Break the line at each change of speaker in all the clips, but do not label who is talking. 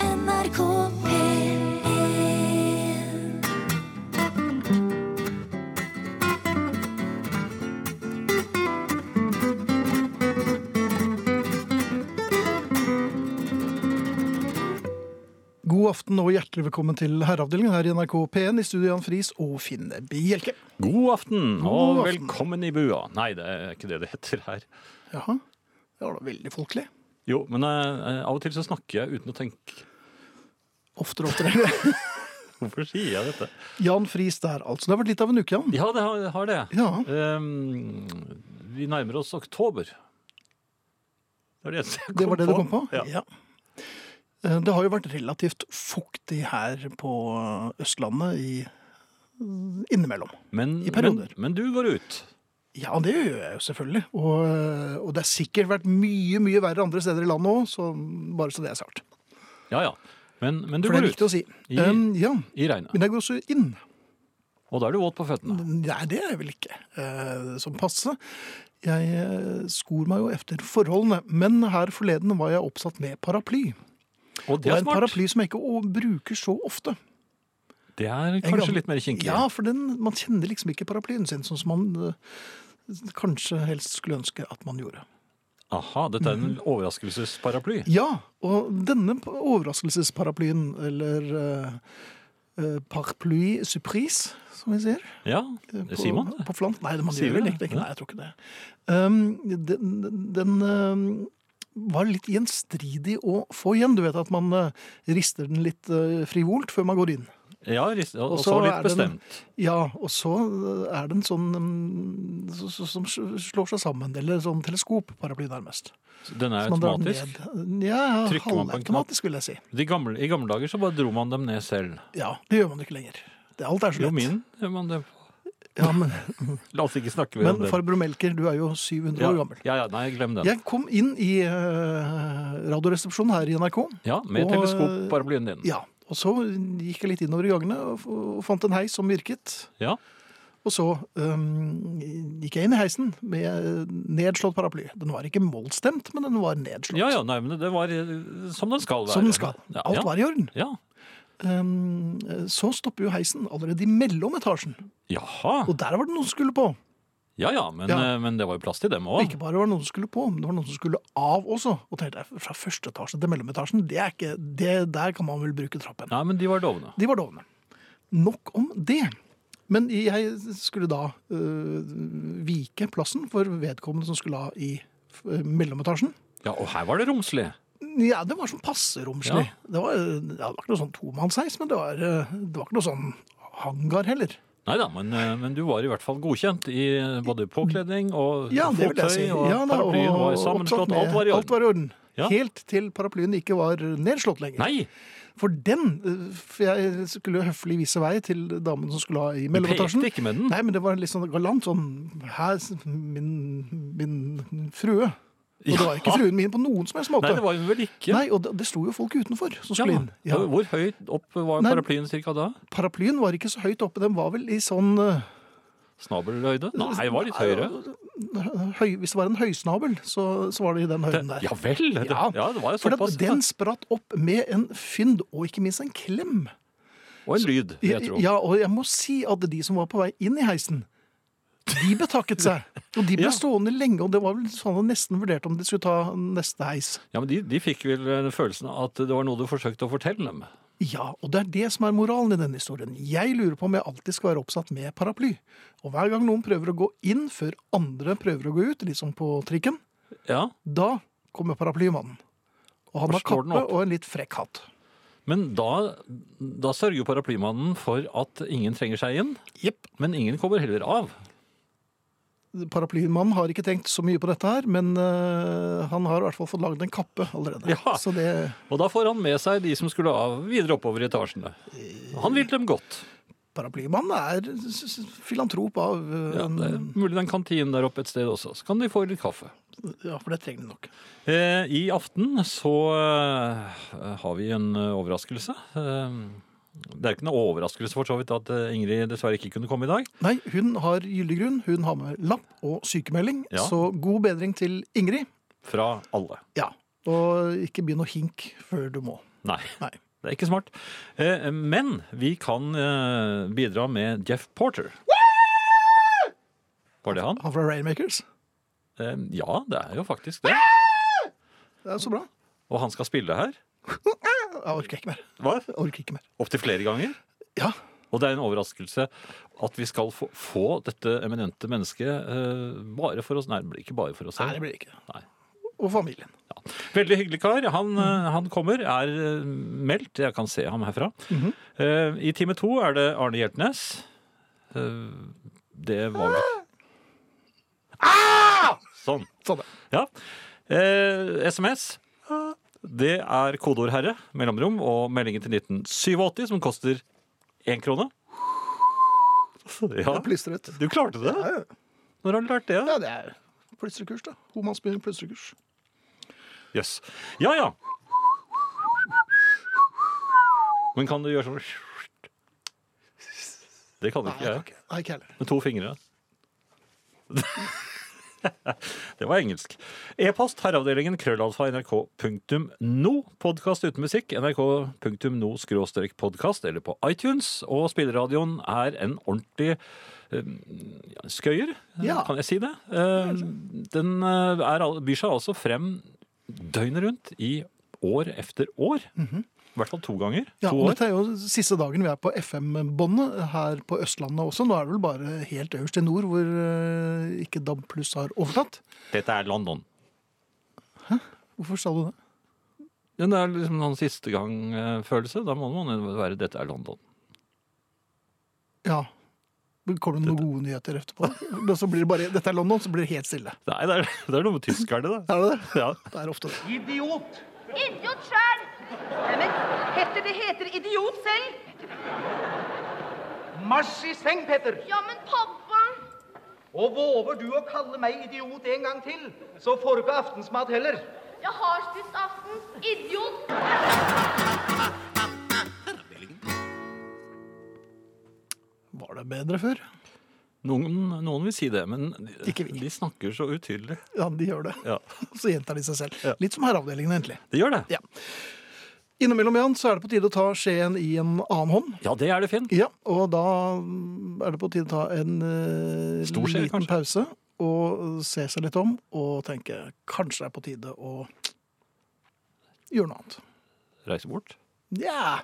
NRK P1
God aften og hjertelig velkommen til Herreavdelingen her i NRK P1 i studio Jan Friis og Finn Bjelke.
God aften og
God aften.
velkommen i bua. Nei, det er ikke det det heter her.
Jaha, det var da veldig folkelig.
Jo, men eh, av og til så snakker jeg uten å tenke.
Oftere og oftere.
Hvorfor sier jeg dette?
Jan Friis der, altså. Det har vært litt av en uke, Jan.
Ja, det har, har det.
Ja.
Ehm, vi nærmer oss oktober. Det var det eneste jeg kom
Det var det du kom på?
Ja.
Eh, Det har jo vært relativt fuktig her på Østlandet i eh, innimellom.
Men,
I perioder.
Men, men du går ut.
Ja, det gjør jeg jo selvfølgelig. Og, eh, og det har sikkert vært mye, mye verre andre steder i landet òg, så bare så det er sagt.
Ja, ja. Men, men du
For det
går
er
ut
viktig å si.
I-
Um, ja.
i regnet.
Men jeg går også inn.
Og da er du våt på føttene.
Nei, det er jeg vel ikke. Eh, som passe. Jeg eh, skor meg jo efter forholdene, men her forleden var jeg oppsatt med paraply.
Og
Det
det
er
er
en
smart.
paraply som jeg ikke å- bruker så ofte.
Det er
En
kanskje
gammel-
litt mer kinkig.
Ja, for den, man kjenner liksom ikke paraplyen sin, sånn som man eh, kanskje helst skulle ønske at man gjorde.
Aha, dette er
Mm.
en overraskelsesparaply.
Ja, og denne p- overraskelsesparaplyen, eller eh, eh, paraply surprise, som vi sier.
Ja,
eh,
det sier man det.
På flant. Nei, man
Sier
gjør vel
vi det?
egentlig ikke
Ja.
Nei, jeg tror ikke det. Um, den den um, var litt gjenstridig å få igjen. Du vet at man eh, rister den litt eh, frivolt før man går inn.
Ja, rist- og
Og
og
så
så
er
litt
den-
bestemt.
Ja, og så eh, er det en sånn um, så, så, som slår seg sammen, eller sånn teleskopparaply nærmest.
Den er
Så man drar den
automatisk.
ned. Ja,
Trykker man på en knapp?
halvautomatisk vil jeg si.
De gamle, I gamle dager så bare dro man dem ned selv.
Ja, det gjør man jo ikke lenger. Det, alt er så
Jo,
lett.
min gjør man det.
Ja, men,
La oss ikke snakke mer om
men
det.
farbror Melker, du er jo 700
ja,
år gammel.
Ja, ja, nei, glem den.
Jeg kom inn i eh, radioresepsjonen her i NRK.
Ja, med
Og,
teleskopbarablyen din.
Ja, og så gikk jeg litt innover i gangene og, f- og fant en heis som virket.
Ja.
Og så eh, gikk jeg inn i heisen med eh, nedslått paraply. Den var ikke målstemt, men den var nedslått.
ja, ja, nei, men det var eh, som den skal være.
Som den skal.
Ja,
Alt var i orden.
Ja.
Eh, så stopper jo heisen allerede i mellometasjen.
Jaha.
Og der var det noen som skulle på.
Ja, ja, men,
Ja.
eh, men det var jo plass til dem
Og
òg.
Ikke bare var det noen som skulle på, men det var noen som skulle av også. Og tenkte jeg, fra første etasje til mellometasjen, det er ikke, det, der kan man vel bruke trappen.
Nei, men de var dovne.
De var dovne. Nok om det. Men jeg skulle da øh, vike plassen for vedkommende som skulle ha i øh, mellometasjen.
Ja, og her var det romslig.
Ja, det var sånn passe romslig. Det, var, øh, ja, det var ikke noe sånn tomannsheis, men det var, øh, det var ikke noe sånn hangar heller.
Nei da, men, eh, men du var i hvert fall godkjent i eh, både påkledning og
Ja, det vil jeg si.
fottøy, og
ja, da,
paraplyen var
oppsatt
sammenslått.
med-
Alt var i
Alt
orden.
var i orden.
Ja.
Helt til paraplyen ikke var nedslått lenger.
Nei!
For den eh, For jeg skulle jo høflig vise vei til damen som skulle ha i
Du
mellometasjen.
pekte ikke med den.
Nei, men det var litt sånn galant sånn Her, min, min frue. Og det var ikke
Ja.
fruen min på noen som helst måte.
Nei, det var hun vel ikke.
Nei, og det, det sto jo folk utenfor som
Ja.
skulle inn. Ja.
Og Hvor høyt opp var
Nei.
paraplyen cirka da?
Paraplyen var ikke så høyt oppe, den var vel i sånn eh,
Snabelhøyde? Nei, det var litt høyere.
høy, Hvis det var en høysnabel, så, så var det i den høyden der.
Ja vel! Det,
Ja.
ja. det var jo
For
såpass.
den, den spratt opp med en fynd, og ikke minst en klem.
Og en lyd, vil jeg tro.
Ja, og jeg må si at de som var på vei inn i heisen, de betakket seg. Og de ble
Ja.
stående lenge, og det var vel sånn at nesten vurderte om de skulle ta neste heis.
Ja, men de, de fikk vel eh, følelsen av at det var noe du forsøkte å fortelle dem.
Ja, og det er det som er moralen i denne historien. Jeg lurer på om jeg alltid skal være oppsatt med paraply. Og hver gang noen prøver å gå inn før andre prøver å gå ut, liksom på trikken,
Ja,
da kommer paraplymannen. Og han
Og
har
slår den
kappe
opp.
og en litt frekk hatt.
Men da, da sørger jo paraplymannen for at ingen trenger seg inn,
Jepp.
men ingen kommer heller av.
Paraplymannen har ikke tenkt så mye på dette her, men øh, han har i hvert fall fått lagd en kappe allerede.
Ja.
Så det
Og da får han med seg de som skulle av, videre oppover i etasjene. Han vil dem godt.
Paraplymannen er s- s- filantrop av eh,
Ja,
en,
det er mulig det er en kantine der oppe et sted også. Så kan de få litt kaffe.
ja, for det trenger de nok.
Eh, I aften så eh, har vi en eh, overraskelse. Eh, det er ikke noe overraskelse for så vidt at eh, Ingrid dessverre ikke kunne komme i dag.
Nei, hun har gyldig grunn. Hun har med lapp og sykemelding.
Ja.
Så god bedring til Ingrid.
Fra alle.
Ja. Og ikke begynn å hink før du må.
Nei.
Nei.
Det er ikke smart. Eh, Men vi kan eh, bidra med Jeff Porter. Var det han?
Han fra Rainmakers.
Eh, Ja, det er jo faktisk det.
Det er så bra.
Og han skal spille her.
Jeg orker ikke mer.
Hva?
Jeg orker ikke mer.
Opptil flere ganger.
Ja,
Og det er en overraskelse at vi skal få, få dette eminente mennesket eh, bare for oss. Nei, det blir ikke bare for oss.
Nei, det blir det ikke.
Nei.
Og familien.
Veldig hyggelig kar. Han, eh, han kommer, er eh, meldt. Jeg kan se ham herfra.
Mhm.
Eh, I time to er det Arne Hjeltnes. Eh, det var vel Ah! Sånn.
Sånn, ja.
Ja. Eh, SMS. Det er kodeord 'herre', mellomrom og meldingen til 1987, som koster én krone. Ja,
Det er plystret.
du klarte det.
Ja,
Når har du lært det? da?
ja, det er plystrekurs, da. Homansbyen plystrekurs.
Jøss. Ja ja. Men kan du gjøre sånn Det kan du
Nei,
ikke jeg.
ikke. Nei, ikke heller.
Med to fingre. Det var engelsk. E-post herreavdelingen krøllalfa nrk.no. Podkast uten musikk nrk.no skråstrek podkast eller på iTunes. Og spilleradioen er en ordentlig eh, ja, skøyer,
Ja.
kan jeg si det. Eh, Den eh, er, al- byr seg altså frem døgnet rundt i år efter år. I hvert fall to ganger.
Mhm. Ja,
to
og
år.
dette er jo siste dagen vi er på FM-båndet her på Østlandet også. Nå er det vel bare helt øverst i nord hvor eh, ikke DAB pluss har overtatt.
Dette er London.
Hvorfor sa du det?
Ja, det er liksom noen siste gang-følelse. Da må man jo være 'dette er London'.
Ja. Men Kommer det noen gode nyheter etterpå? Men så blir det bare, dette er London, så blir det helt stille.
Nei, det er, det er noe med tyskerne, da.
Er det det?
Ja.
Det er ofte det.
Idiot!
Idiot sjæl! Neimen, heter det heter idiot selv?
Marsj i seng, Petter!
Ja, men pappa
Og våger du å kalle meg idiot en gang til, så får du ikke aftensmat heller.
Jeg har spist aftens. Idiot.
Var det bedre før?
Noen, noen vil si det, men de,
Ikke vi.
de snakker så utydelig.
Ja, de gjør det.
Ja.
Så gjentar de seg selv.
Ja.
Litt som herreavdelingen, egentlig.
De gjør det.
Ja. Innimellom igjen så er det på tide å ta skjeen i en annen hånd.
Ja, det er det, Finn.
Ja, og da er det på tide å ta en eh,
Stor skje,
liten
kanskje?
pause og se seg litt om og tenke kanskje det er på tide å gjøre noe annet.
Reise bort.
Nja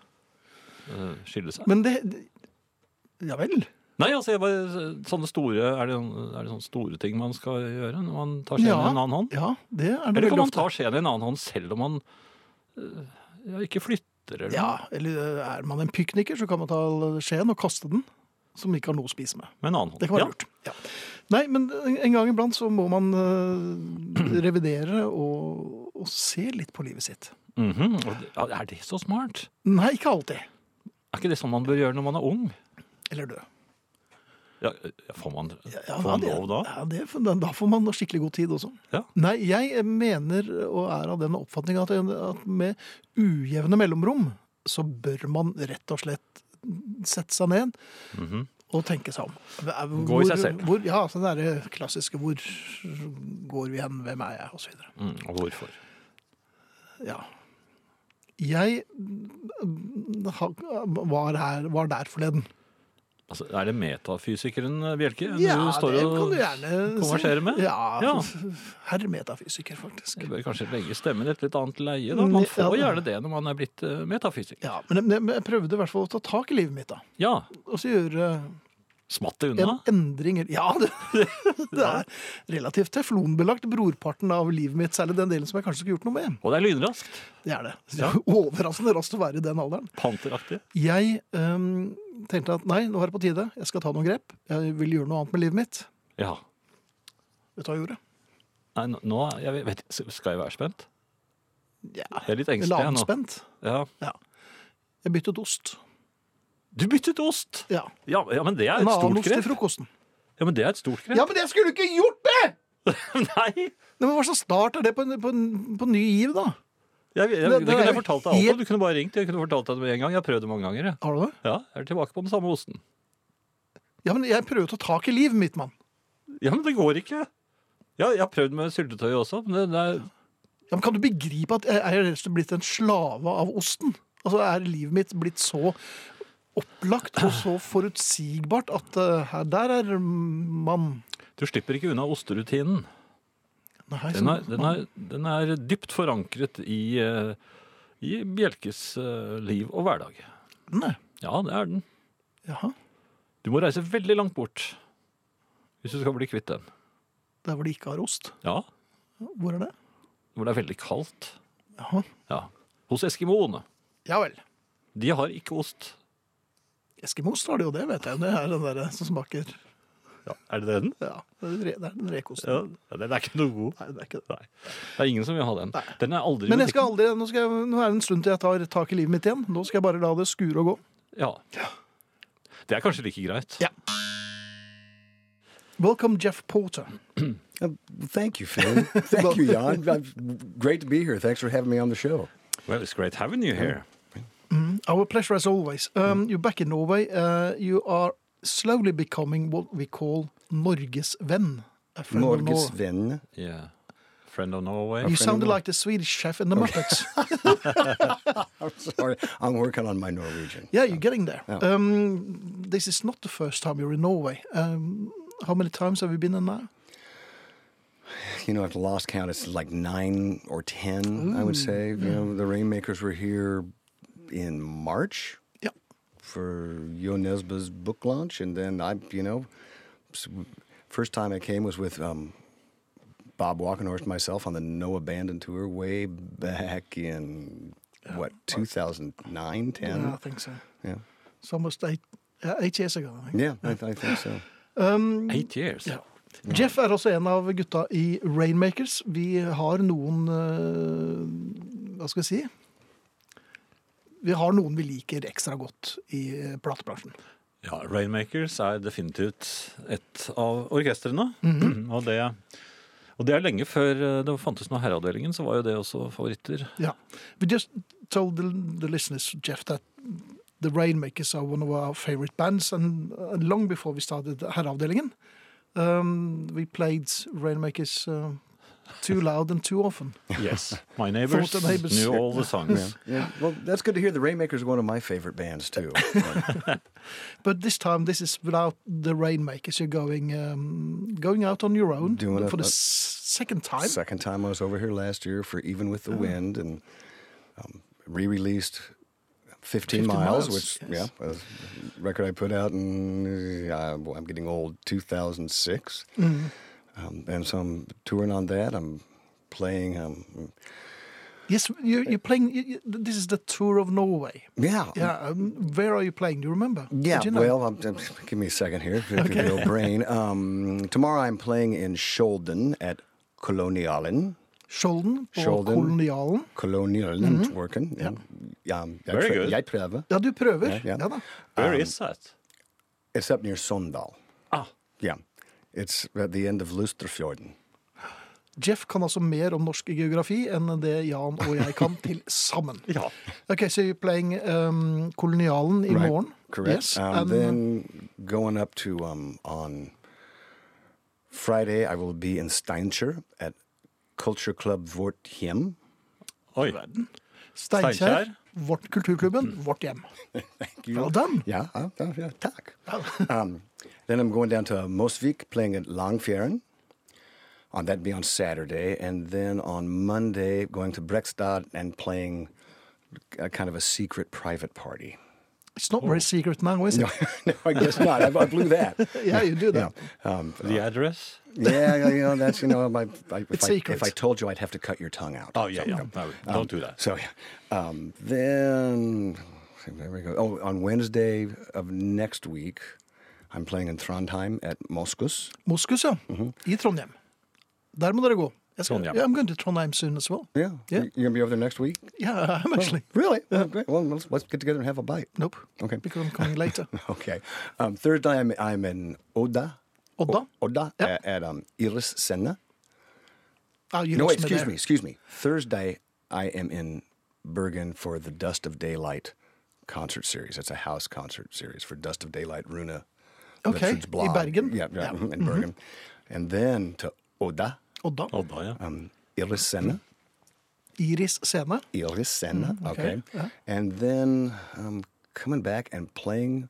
eh, Skille seg.
Men det, det Ja vel.
Nei, altså, jeg bare, sånne store, er, det, sånn- er det sånne store ting man skal gjøre når man tar skjeen
ja,
i en annen hånd?
Ja, det er det
Eller kan
veldig
man ta
ofte.
skjeen i en annen hånd selv om man eh, ja, ikke flytter? Eller? noe?
Ja, eller eh, er man en pikniker, så kan man ta skjeen og kaste den, som ikke har noe å spise med.
Med en annen hånd.
Det kan være
ja.
lurt. Ja. Nei, men en gang iblant så må man eh, revidere og, og se litt på livet sitt.
Mhm. Og det- ja, er det så smart?
Nei, ikke alltid.
Er ikke det sånn man bør gjøre når man er ung?
Eller dø.
Ja, ja, får man,
Ja,
får man
det-
lov da?
Ja, det, da får man skikkelig god tid også.
Ja.
Nei, jeg mener og er av den oppfatning at, at med ujevne mellomrom så bør man rett og slett sette seg ned og tenke seg om.
Mhm. Gå i seg selv.
Hvor, ja, så det er det klassiske 'hvor går vi hen', 'hvem er jeg', osv.
Mm, og hvorfor?
Ja. Jeg mm, ha- var, her, var der forleden.
Altså, er det metafysikeren eh, Bjelke
Ja,
du står
det
og
kan du gjerne
konverserer med?
Ja,
Ja.
herr metafysiker, faktisk.
Jeg bør kanskje legge stemmen i et litt annet leie. Da. Man får
Ja.
gjerne det når man er blitt eh, metafysiker.
Ja, men jeg, men jeg prøvde i hvert fall å ta tak i livet mitt, da.
Ja,
Og så gjøre
Smatt det
en
unna?
endring Ja, det, det er relativt teflonbelagt, brorparten av livet mitt. Særlig den delen som jeg kanskje skulle gjort noe med.
Og det er lynraskt.
Det er det.
Ja.
Overraskende raskt å være i den alderen.
Panteraktig.
Jeg øhm, tenkte at nei, nå er det på tide. Jeg skal ta noen grep. Jeg vil gjøre noe annet med livet mitt.
Ja.
Vet du hva jeg gjorde?
Nei, nå- nå er jeg vet, Skal jeg være spent?
Ja,
Jeg er litt engstelig jeg, nå.
Lavspent.
Ja.
Ja. Jeg byttet ost.
Du byttet ost!
Ja.
Ja, ja, men det er
En
et
annen
stort
ost til
grep.
frokosten.
Ja, men det er et stort grep.
Ja, men jeg skulle ikke gjort det!
Nei!
Nei, men Hva slags start er det på, en- på, en- på ny giv, da?
Jeg,
Det-
jeg, det
det
kunne jeg
er
fortalt deg alt
helt-
om. Du kunne bare ringt. Jeg kunne fortalt deg det med en gang. Jeg har prøvd det mange ganger. jeg.
Har du det?
Ja, jeg er tilbake på den samme osten.
Ja, men jeg prøver å ta tak i livet mitt, mann.
Ja, men det går ikke. Ja, jeg har prøvd med syltetøy også, men det, det er
Ja, men kan du begripe at jeg er rett og slett blitt en slave av osten? Altså, er livet mitt blitt så opplagt og så forutsigbart at eh, her, der er man
Du slipper ikke unna osterutinen.
Nei,
Den er,
så-
den er, den er dypt forankret i, eh, i Bjelkes eh, liv og hverdag.
Nei.
Ja, det er den.
Jaha.
Du må reise veldig langt bort hvis du skal bli kvitt den.
Der hvor de ikke har ost.
Ja,
Hvor er det?
hvor det er veldig kaldt.
Jaha.
Ja. Hos Eskimoene.
Ja vel.
De har ikke ost.
Eskimos har det jo det, vet jeg. Det er den der som smaker
er det den?
Ja, det er re- det er den rekosten.
Ja, den er ikke noe god.
Nei, det er ikke det.
Nei. Det er ingen som vil ha den. Den er aldri i
Men jeg skal
butikken.
aldri, nå, skal jeg, nå er det en stund til jeg tar tak i livet mitt igjen. Nå skal jeg bare la det skure og gå.
Ja. Det er kanskje like greit.
Ja. Welcome, Jeff Porter.
Uh, thank you, Finn. Thank you, Jan. Uh, Great to be here. Thanks for having me on the show.
Well, it's great having you here.
Our pleasure as always. Um, you're back in Norway. Uh, you are slowly becoming what we call Norges venn. A friend of
Norges
Nor-
vän.
Yeah. Friend of Norway.
You
friend of
sounded
Nor-
like the Swedish chef in the Muppets.
I'm sorry. I'm working on my Norwegian.
yeah, you're getting there.
Yeah.
Um, this is not the first time you're in Norway. Um, how many times have you been in now?
You know, I've lost count. It's like nine or ten, I would
Mm.
say. You know, the Rainmakers were here in March
Yeah.
for Yo Nesbø's book launch, and then I, you know, s- first time I came was with um, Bob Walkenhorst and myself on the No Abandon tour way back in what 2009, 10.
Oh, yeah, I think so.
Yeah.
It's almost eight, uh, eight years ago. I think.
Yeah, I, I think so.
Eight years.
Ja. Jeff er også en av gutta i Rainmakers. Vi har noen eh, Hva skal jeg si? Vi har noen vi liker ekstra godt i eh, platebransjen.
Ja, Rainmakers er definitivt et av orkestrene. og, det, og det er lenge før eh, det fantes noe herreavdelingen, så var jo det også favoritter.
Ja. We just told the, the listeners, Jeff, that the Rainmakers are one of our favorite bands, and uh, long before we started Herreavdelingen, um, we played Rainmakers uh, too loud and too often.
Yes. My neighbors,
Thought the neighbors-
knew all the songs.
Yeah. Well, that's good to hear. The Rainmakers are one of my favorite bands too.
But this time, this is without the rainmakers. You're going um, going out on your own
Doing it
for the
like-
s- second time.
Second time I was over here last year for Even with the Wind and um, re-released 15,
15
Miles,
Miles,
which
yes.
yeah, was a record I put out in uh, well, I'm getting old 2006, um, and so I'm touring on that. I'm playing. Um,
Yes, you're, you're playing. You, you- this is the tour of Norway.
yeah,
Yeah, um, where are you playing? Do you remember?
Yeah,
Did you know?
well, I'm, I'm- give me a second here. If okay. your brain. Um, tomorrow I'm playing in Skjolden at Kolonialen.
Skjolden på
Skjolden.
Kolonialen.
Kolonialen, working. Yeah. Yeah, um,
Very
jeg,
good.
jeg prøver.
Ja, du prøver.
Ja, ja.
Ja da.
Where is that?
It's up near Sundal.
Ah,
Yeah. It's at the end of Lusterfjorden.
Jeff kan altså mer om norsk geografi enn det Jan og jeg kan til sammen.
ja.
Okay, so you're playing um, Kolonialen i morgen.
Correct.
Yes,
Um,
and
then going up to um, on Friday, I will be in Steinkjer at Culture Club Vortheim.
Oi.
Steinkjer,
Steinkjer.
vårt kulturklubben, vårt hjem. Well done. Oh.
Yeah, uh, uh, yeah, tack. um, then I'm going down to Mosvik playing at Langfjären. On that'd be on Saturday, and then on Monday going to Brekstad and playing a kind of a secret private party.
It's not
Oh.
very secret now, is it?
No, no I guess not. I, I blew that.
Yeah, you do that.
Um,
The address?
yeah, you know that's you know my, I, if,
It's
I,
secret.
if I told you, I'd have to cut your tongue out.
Oh, yeah, yeah. No, don't do that.
So yeah, um, then there we go. Oh, on Wednesday of next week, I'm playing in Trondheim at Moskus.
Moskus, ja.
Mhm.
I Trondheim. Der må dere gå. Jeg skal,
Trondheim.
Yeah, I'm going to Trondheim soon as well.
Yeah,
Yeah.
You- you gonna be over there next week?
Yeah, I'm actually.
Really? Oh, great. Well, let's, let's get together and have a bite.
Nope.
Oh. Okay.
Because I'm coming later.
Okay. Um, Thursday, I'm I'm in Oda.
Odda?
O- Oda
Yeah.
at, at um, Iris Senna.
Ah, you
No, wait,
lost
excuse
there.
me, excuse me. Thursday, I am in Bergen for the Dust of Daylight concert series. It's a house concert series for Dust of Daylight, Runa.
Okay,
Lipson's
in
blog.
Bergen?
Yeah, yeah, mhm, in Bergen. And then to Oda,
Odda.
Oh.
Odda, ja.
um, Illis Senna.
Iris Scene.
Iris Senna. okay.
Mm, okay, yeah.
And then um, coming back and playing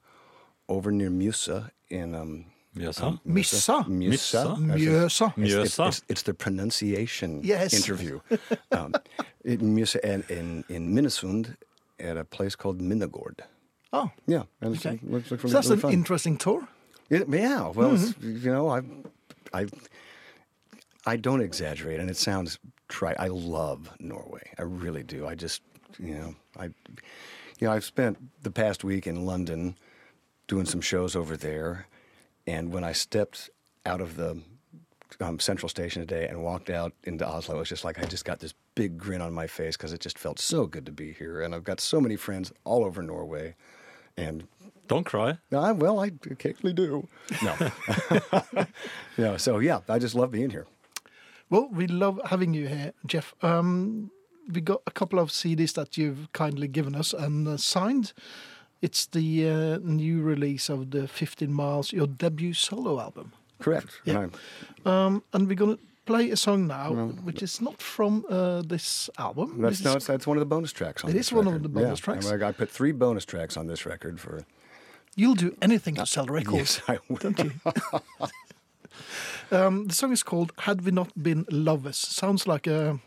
over near Musa in. Um,
Mjøsa.
Missa.
Musa.
Mjøsa.
It's, it's,
Mjøsa.
it's- it's the pronunciation
Yes.
interview. Um, it, Musa and in, in Minnesund at a place called Minnegård.
Oh.
Yeah. And it's-
Okay.
it looks like
So that's
really
an
fun.
interesting tour.
It- yeah. Well, it's- you know, I, I, I don't exaggerate, and it sounds trite. I love Norway. I really do. I just, you know, I, you know, I've spent the past week in London doing some shows over there, and when I stepped out of the um, central station today and walked out into Oslo, it was just like I just got this big grin on my face because it just felt so good to be here, and I've got so many friends all over Norway, and
Don't cry.
I, Ah, well, I occasionally do. No. yeah. So yeah, I just love being here.
Well, we love having you here, Jeff. Um, we got a couple of CDs that you've kindly given us and uh, signed. It's the uh, new release of the 15 Miles, your debut solo album.
Correct.
Yeah.
Right.
Um, and we're going to play a song now, which is not from uh, this album.
That's
This
no,
is-
it's, that's one of the bonus tracks. on
It
this
is one of
record.
the bonus
yeah.
tracks.
I, I put three bonus tracks on this record for.
You'll do anything to sell records.
Yes, I will.
Um, the song is called Had We Not Been Lovers. Sounds like a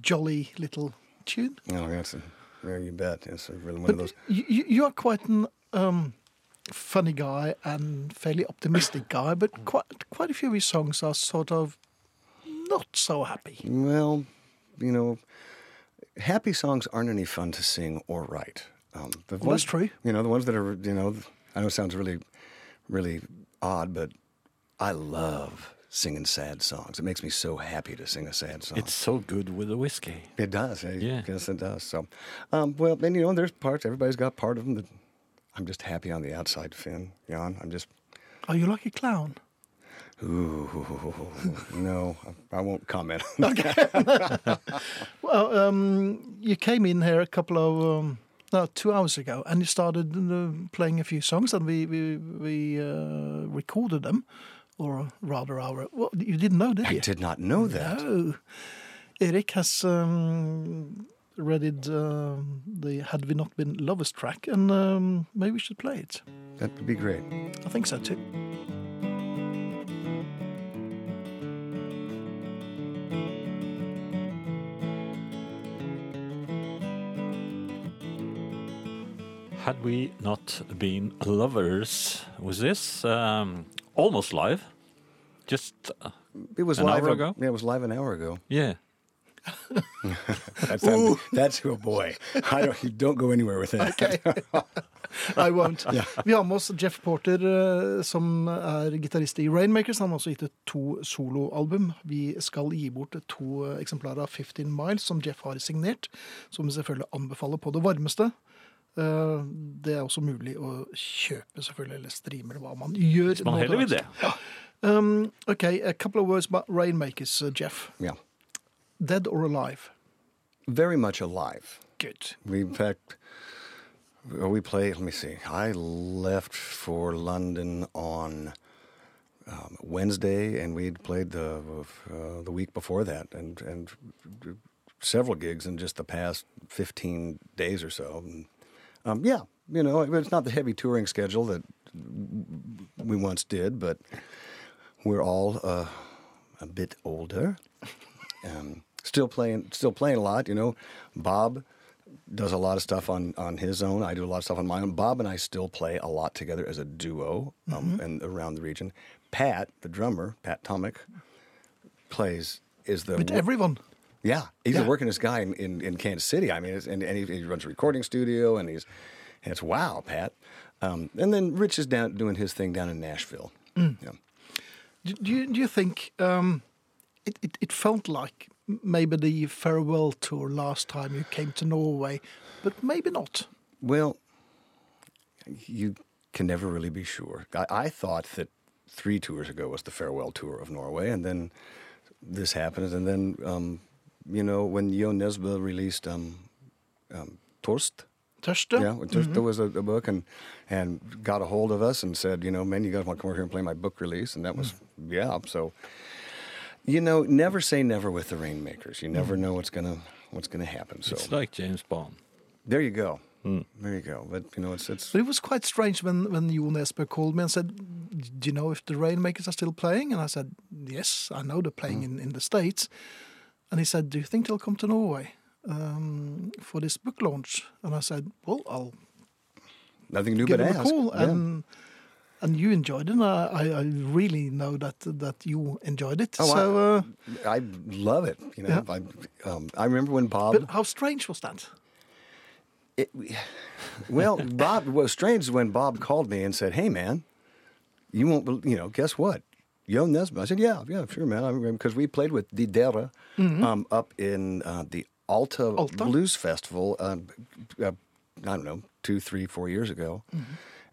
jolly little tune.
No, Oh, that's a, yeah, you bet. It's a- really one of those.
You, you you are quite an um, funny guy and fairly optimistic guy, but quite quite a few of his songs are sort of not so happy.
Well, you know, happy songs aren't any fun to sing or write. Um, the
Well, that's true.
You know, the ones that are, you know, I know it sounds really, really odd, but I love singing sad songs. It makes me so happy to sing a sad song.
It's so good with a whiskey.
it does. I
Yeah.
guess it does. So, um, well, and you know, there's parts, everybody's got part of them that I'm just happy on the outside, Finn, Jan. I'm just,
Are you like a clown?
ooh, no, I, I won't comment on that.
Well, um, you came in here a couple of um, no, two hours ago, and you started uh, playing a few songs, and we we, we uh, recorded them, or rather, our well, you didn't know, did
I
you?
did not know that.
Oh, Erik has um, readied um, the Had We Not Been Lovers track, and um, maybe we should play it.
That would be great.
I think so too.
Had we not been lovers, was this um, almost live? Just, uh,
It was
An
live
hour
a-
ago?
Yeah, it was live an hour ago.
yeah.
That's that's oh boy. I don't you don't go anywhere with that.
I won't. Vi har med oss Jeff Porter, eh, som er gitarist i Rainmakers. Han har også gitt ut to soloalbum. Vi skal gi bort to eh, eksemplarer av 15 Miles, som Jeff har signert. Som vi selvfølgelig anbefaler på det varmeste. Eh, Det er også mulig å kjøpe, selvfølgelig, eller streame, eller hva man gjør.
Man
nå til
heller vil
dags.
det.
Um, okay, a couple of words about Rainmakers, uh, Jeff.
Yeah.
Dead or alive?
Very much alive.
Good.
We in fact uh, we played let me see. I left for London on um, Wednesday and we'd played the uh, the week before that and and uh, several gigs in just the past 15 days or so. And, um, yeah, you know, it's not the heavy touring schedule that we once did, but we're all uh, a bit older. Um, still playing, still playing a lot. You know, Bob does a lot of stuff on on his own. I do a lot of stuff on my own. Bob and I still play a lot together as a duo um, and around the region. Pat, the drummer, Pat Tomick, plays is the
With
wo-
everyone.
yeah, he's
Yeah.
a working this guy in, in, in Kansas City. I mean, it's, and, and he, he runs a recording studio, and he's and it's wow, Pat. Um, and then Rich is down doing his thing down in Nashville. Yeah.
Do, do, you, do you think um, it, it, it felt like maybe the farewell tour last time you came to Norway, but maybe not?
Well, you can never really be sure. I, I thought that three tours ago was the farewell tour of Norway, and then this happens, and then um, you know when Jo Nesbø released um, um, Torst.
Tørste?
Yeah, there,
Mm-hmm.
there was a, a book and and got a hold of us and said, you know, man, you guys want to come over here and play my book release, and that was
Mm. Mm.
yeah. So, you know, never say never with the Rainmakers. You never know what's gonna what's going to happen. So
It's like James Bond.
there you go. There you go. But you know, it's it's
Hmm. But it was quite strange when, when Jon Esper called me and said, Do you know if the Rainmakers are still playing? And I said, Yes, I know they're playing in, in the States. And he said, Do you think they'll come to Norway um, for this book launch? And I said, Well, I'll
nothing new
give
but
them
ask.
a call.
Yeah.
And, and you enjoyed it. And I, I, I really know that, that you enjoyed it.
Oh, I-
so, uh,
I love it. You know, I, um, I remember when Bob.
But how strange was that?
It, well, Bob, what was strange is when Bob called me and said, "Hey, man, you won't, bel- you know, guess what? Yo Nesbitt." I said, "Yeah, yeah, sure, man. I remember because we played with Didera um, up in uh, the Alta,
Alta?
Blues Festival. Um, uh, I don't know, two, three, four years ago."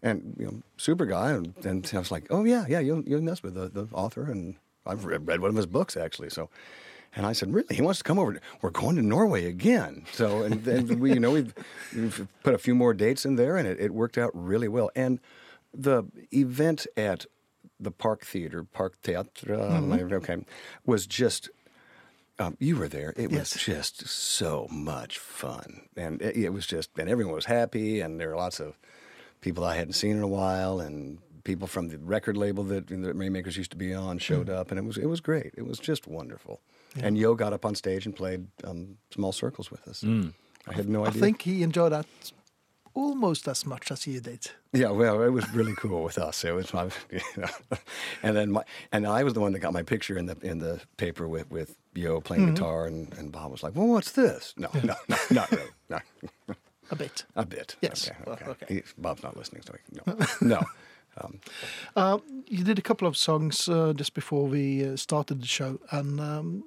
And you know, super guy, and, and I was like, "Oh yeah, yeah, Yo, Yo Nesbitt, the, the author, and I've read, read one of his books actually." So, and I said, "Really? He wants to come over? We're going to Norway again." So, and then we, you know, we've, we've put a few more dates in there, and it, it worked out really well. And the event at the Park Theater, Park Teatra, okay, was just. Um, you were there. It was
Yes.
just so much fun, and it, it was just, and everyone was happy, and there were lots of people I hadn't seen in a while, and people from the record label that the Rainmakers used to be on
Mm.
showed up, and it was it was great. It was just wonderful. And Yo got up on stage and played um, small circles with us. I had no
I
idea.
think he enjoyed that almost as much as you did.
Yeah, well, it was really cool with us. It was my, you know, and then my, and I was the one that got my picture in the in the paper with with Yo playing
Mm-hmm.
guitar, and, and Bob was like, "Well, what's this?" No, no, no, not really, no,
A bit.
a bit.
Yes.
okay,
Well,
okay.
okay.
He- Bob's not listening, so he, no, no. Um,
Uh, you did a couple of songs uh, just before we uh, started the show, and um,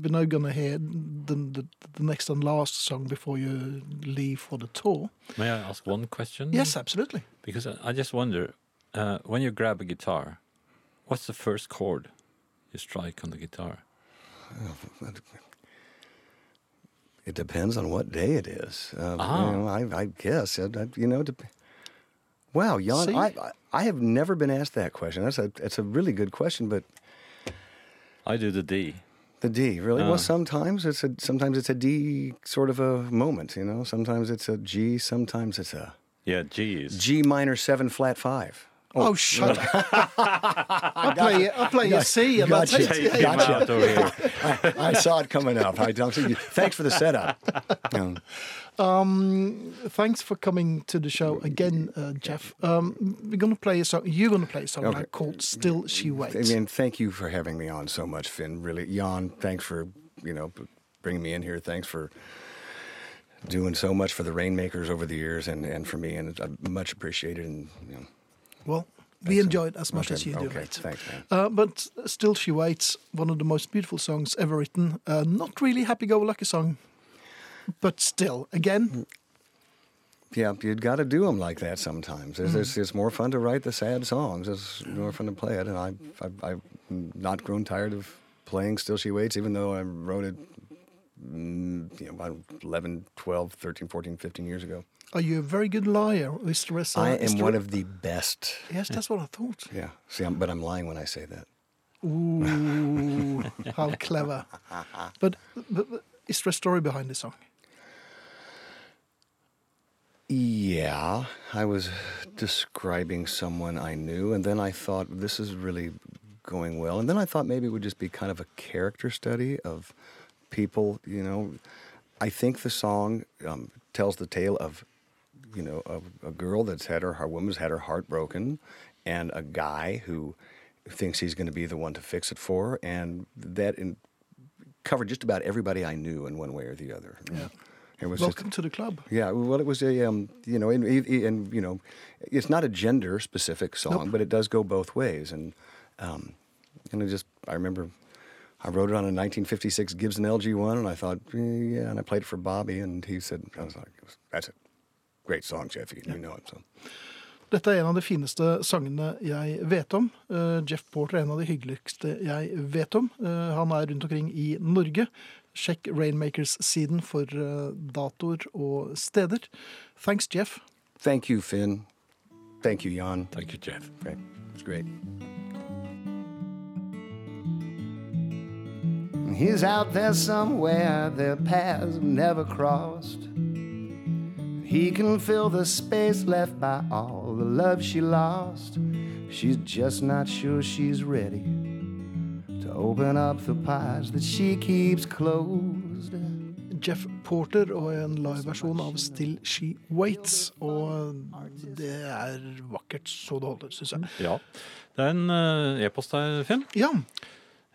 we're now going to hear the, the, the next and last song before you leave for the tour.
Mm-hmm.
May I ask one question?
Yes, absolutely.
Because I- I just wonder, uh, when you grab a guitar, what's the first chord you strike on the guitar?
It depends on what day it is. Uh,
Ah.
you know, I, I guess. I, I- you know, dep wow, Jan,
See?
I, I- I have never been asked that question. That's a, it's a really good question, but
I do the D.
the D really.
Ah.
Well, sometimes it's a sometimes it's a D sort of a moment. You know, sometimes it's a G. Sometimes it's a
Yeah, G is.
G minor seven flat five.
Oh, shut up. I play, I play a C and
Gotcha.
that's it.
Take him
Gotcha.
out over here.
I, I saw it coming up. I, I'm saying, thanks for the setup. Um,
Thanks for coming to the show again, uh, Jeff. Um, we're going to play a song. You're going to play a song
Okay.
now called Still She Waits.
I mean, thank you for having me on so much, Finn. Really, Jan, thanks for you know b- bringing me in here. Thanks for doing so much for the Rainmakers over the years, and and for me, and it's, uh, much appreciated. And you know,
Well, we enjoy it as much
okay,
as you do
okay,
it.
thanks, man.
Uh, but still, she waits. One of the most beautiful songs ever written. Uh, not really happy-go-lucky song, but still,
Mm.
again,
yeah, you got to do them like that sometimes. There's, there's, it's more fun to write the sad songs. It's more fun to play it, and I, I I've not grown tired of playing Still She Waits, even though I wrote it. mm, You know, about 11, 12, 13, 14, 15 years ago.
are you a very good liar, Mr. Ressa?
I am one of the best.
Yes, that's what I thought.
Yeah. See, I'm, but I'm lying when I say that.
Ooh, how clever! But, but, but is there a story behind the song?
Yeah, I was describing someone I knew, and then I thought this is really going well. And then I thought maybe it would just be kind of a character study of people. You know, I think the song um, tells the tale of, you know, a, a girl that's had her, her woman's had her heart broken, and a guy who thinks he's going to be the one to fix it for, her, and that in, covered just about everybody I knew in one way or the other. Yeah. It was just-
Welcome to the club.
yeah, well, it was a um, you know, and, and you know, it's not a gender specific song, but it does go both ways, and um, and it just I remember I wrote it on a 1956 Gibson LG1, and I thought eh, yeah, and I played it for Bobby, and he said I was like that's a great song, Jeffy, and you know it. So
Dette er en av de fineste sangene jeg vet om. Eh, Jeff Porter er en av de hyggeligste jeg vet om. Eh, han er rundt omkring i Norge. Sjekk Rainmakers-siden for eh, datoer og steder. Thanks, Jeff.
thank you, Finn. Thank you, Jan.
Thank you, Jeff.
Okay, It's great. He's out there somewhere, their paths never crossed. He can fill the space left by all the love she lost. She's just not sure she's ready to open up the pies that she keeps closed.
Jeff Porter og en liveversjon av Still She Waits. Og det er vakkert så det holder, syns jeg.
Ja. Det er en eh, e-post her, Finn.
Ja,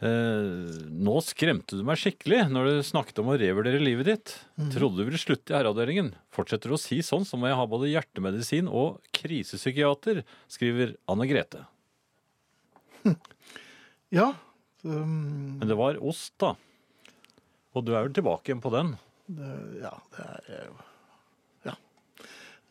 Eh, nå skremte du meg skikkelig når du snakket om å revurdere livet ditt. Trodde du ville slutte i herreavdelingen. Fortsetter du å si sånn, så må jeg ha både hjertemedisin og krisepsykiater, skriver Anne Grete.
ja. Um,
Men det var ost, da. Og du er vel tilbake igjen på den?
det, eh, ja, det er jo Ja.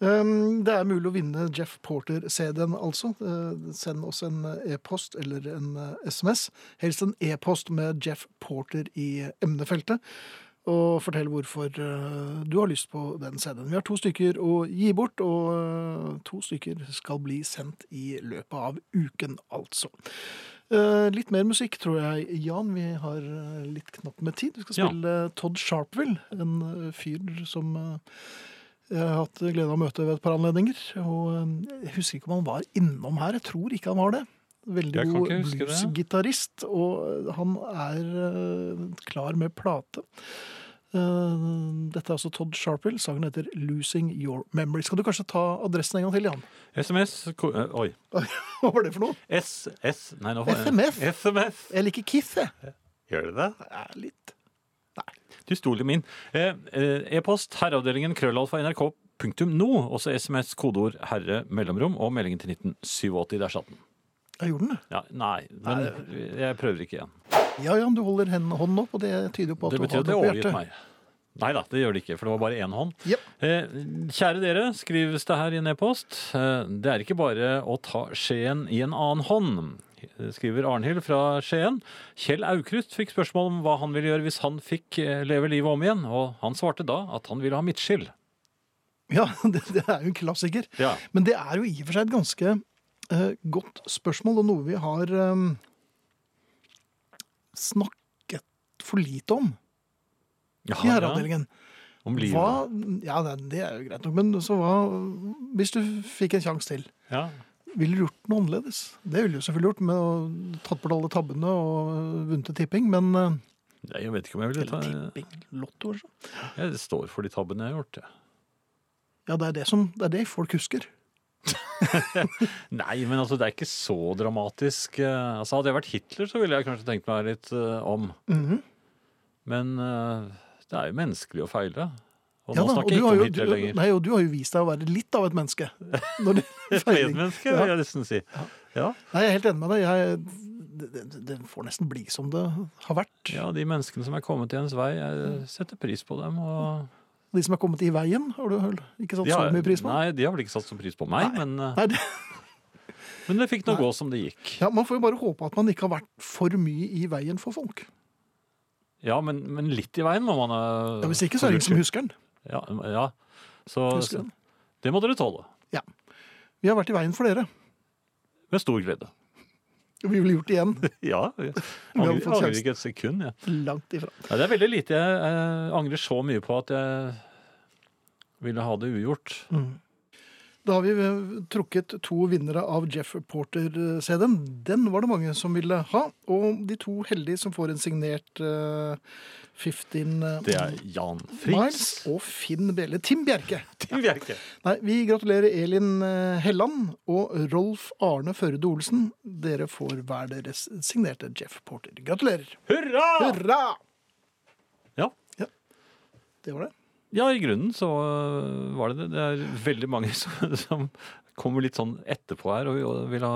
Um, det er mulig å vinne Jeff Porter-CD-en, altså. Eh, Send oss en e-post eller en eh, SMS. Helst en e-post med Jeff Porter i emnefeltet. Og fortell hvorfor eh, du har lyst på den CD-en. Vi har to stykker å gi bort, og eh, to stykker skal bli sendt i løpet av uken, altså. Eh, Litt mer musikk, tror jeg. Jan, vi har eh, litt knapt med tid. Vi skal
Ja.
spille Todd Sharpville, en eh, fyr som eh, jeg har hatt glede av å møte ved et par anledninger. Og eh, jeg husker ikke om han var innom her. Jeg tror ikke han var det. Veldig
Jeg kan
god
ikke huske det.
bluesgitarist, og han er eh, klar med plate. Eh, Dette er altså Todd Sharpill. Sangen heter 'Losing Your Memory'. Skal du kanskje ta adressen en gang til, Jan?
SMS ko eh, Oi.
Hva var det for noe?
SS Nei, nå
FMF.
SMS.
Jeg liker Kiss, jeg.
Gjør du det?
Ja, litt.
Du stoler min. Eh, eh, E-post herreavdelingen krøllalfa nrk.no. Også SMS, kodeord herre, mellomrom og meldingen til 1987. Der satt den.
Jeg gjorde den, jeg.
Ja, nei, men jeg prøver ikke igjen.
Ja, Jan, du holder hen- hånden opp, og det tyder jo på at
Det
du
betyr
har
at jeg
på
overgitt meg. Nei da, det gjør det ikke, for det var bare én hånd.
Jep.
Eh, kjære dere, skrives det her i en e-post. Eh, det er ikke bare å ta skjeen i en annen hånd, skriver Arnhild fra Skien. Kjell Aukrust fikk spørsmål om hva han ville gjøre hvis han fikk eh, leve livet om igjen, og han svarte da at han ville ha midtskill.
Ja, det, det er jo en klassiker.
Ja.
Men det er jo i og for seg et ganske eh, godt spørsmål, og noe vi har eh, snakket for lite om
Ja,
i herreavdelingen.
Om livet.
Hva Ja, nei, det er jo greit nok, men så hva Hvis du fikk en sjanse til,
Ja.
ville du gjort noe annerledes? Det ville du selvfølgelig gjort, med å tatt bort alle tabbene og eh, vunnet i tipping, men eh,
Nei, Jeg vet ikke om jeg ville ta
Eller tipping, lotto, altså.
Jeg står for de tabbene jeg har gjort. jeg.
Ja, det er det, som, det er det folk husker.
Nei, men altså, det er ikke så dramatisk. Eh, Altså, hadde jeg vært Hitler, så ville jeg kanskje tenkt meg litt eh, om.
Mhm.
Men eh, det er jo menneskelig å feile. Og nå
da,
snakker
du
jeg ikke
har
om
jo-
Hitler
du-
lenger.
Nei, og du har jo vist deg å være litt av et menneske. Når du
Et medmenneske,
Ja.
vil jeg nesten si. Ja.
Nei, jeg er helt enig med deg. Jeg, det, det, det får nesten bli som det har vært.
ja, de menneskene som er kommet i ens vei, jeg setter pris på dem. Og...
De som er kommet i veien, har du hørt ikke satt
De har-
så mye pris på?
Nei, de har vel ikke satt så pris på meg, Men, eh,
Nei, det,
men det fikk nå gå som det gikk.
ja, man får jo bare håpe at man ikke har vært for mye i veien for folk.
Ja, men, men litt i veien må man eh,
Ja, hvis ikke, så er det ingen som husker den.
Ja, ja. Så,
Husker
så
den.
det må dere tåle.
Ja. Vi har vært i veien for dere.
Med stor glede.
Vi ville gjort det igjen.
Ja. Jeg
hadde
angrer,
fått
angrer
sjansen.
ikke et sekund. jeg.
Langt ifra.
Nei, det er veldig lite jeg eh, angrer så mye på at jeg ville ha det ugjort.
Mm. Da har vi eh, trukket to vinnere av Jeff Porter-CD-en. Den var det mange som ville ha. Og de to heldige som får en signert eh, 15 eh,
Det er Jan
Miles
Friis.
og Finn Bjelle. Tim Bjerke.
Tim Bjerke.
Nei, vi gratulerer Elin eh, Helland og Rolf Arne Førde Olsen. Dere får hver deres signerte Jeff Porter. Gratulerer.
Hurra!
Hurra!
Ja.
Det var det.
ja, i grunnen så eh, var det det. Det er veldig mange som, som kommer litt sånn etterpå her og, og vil ha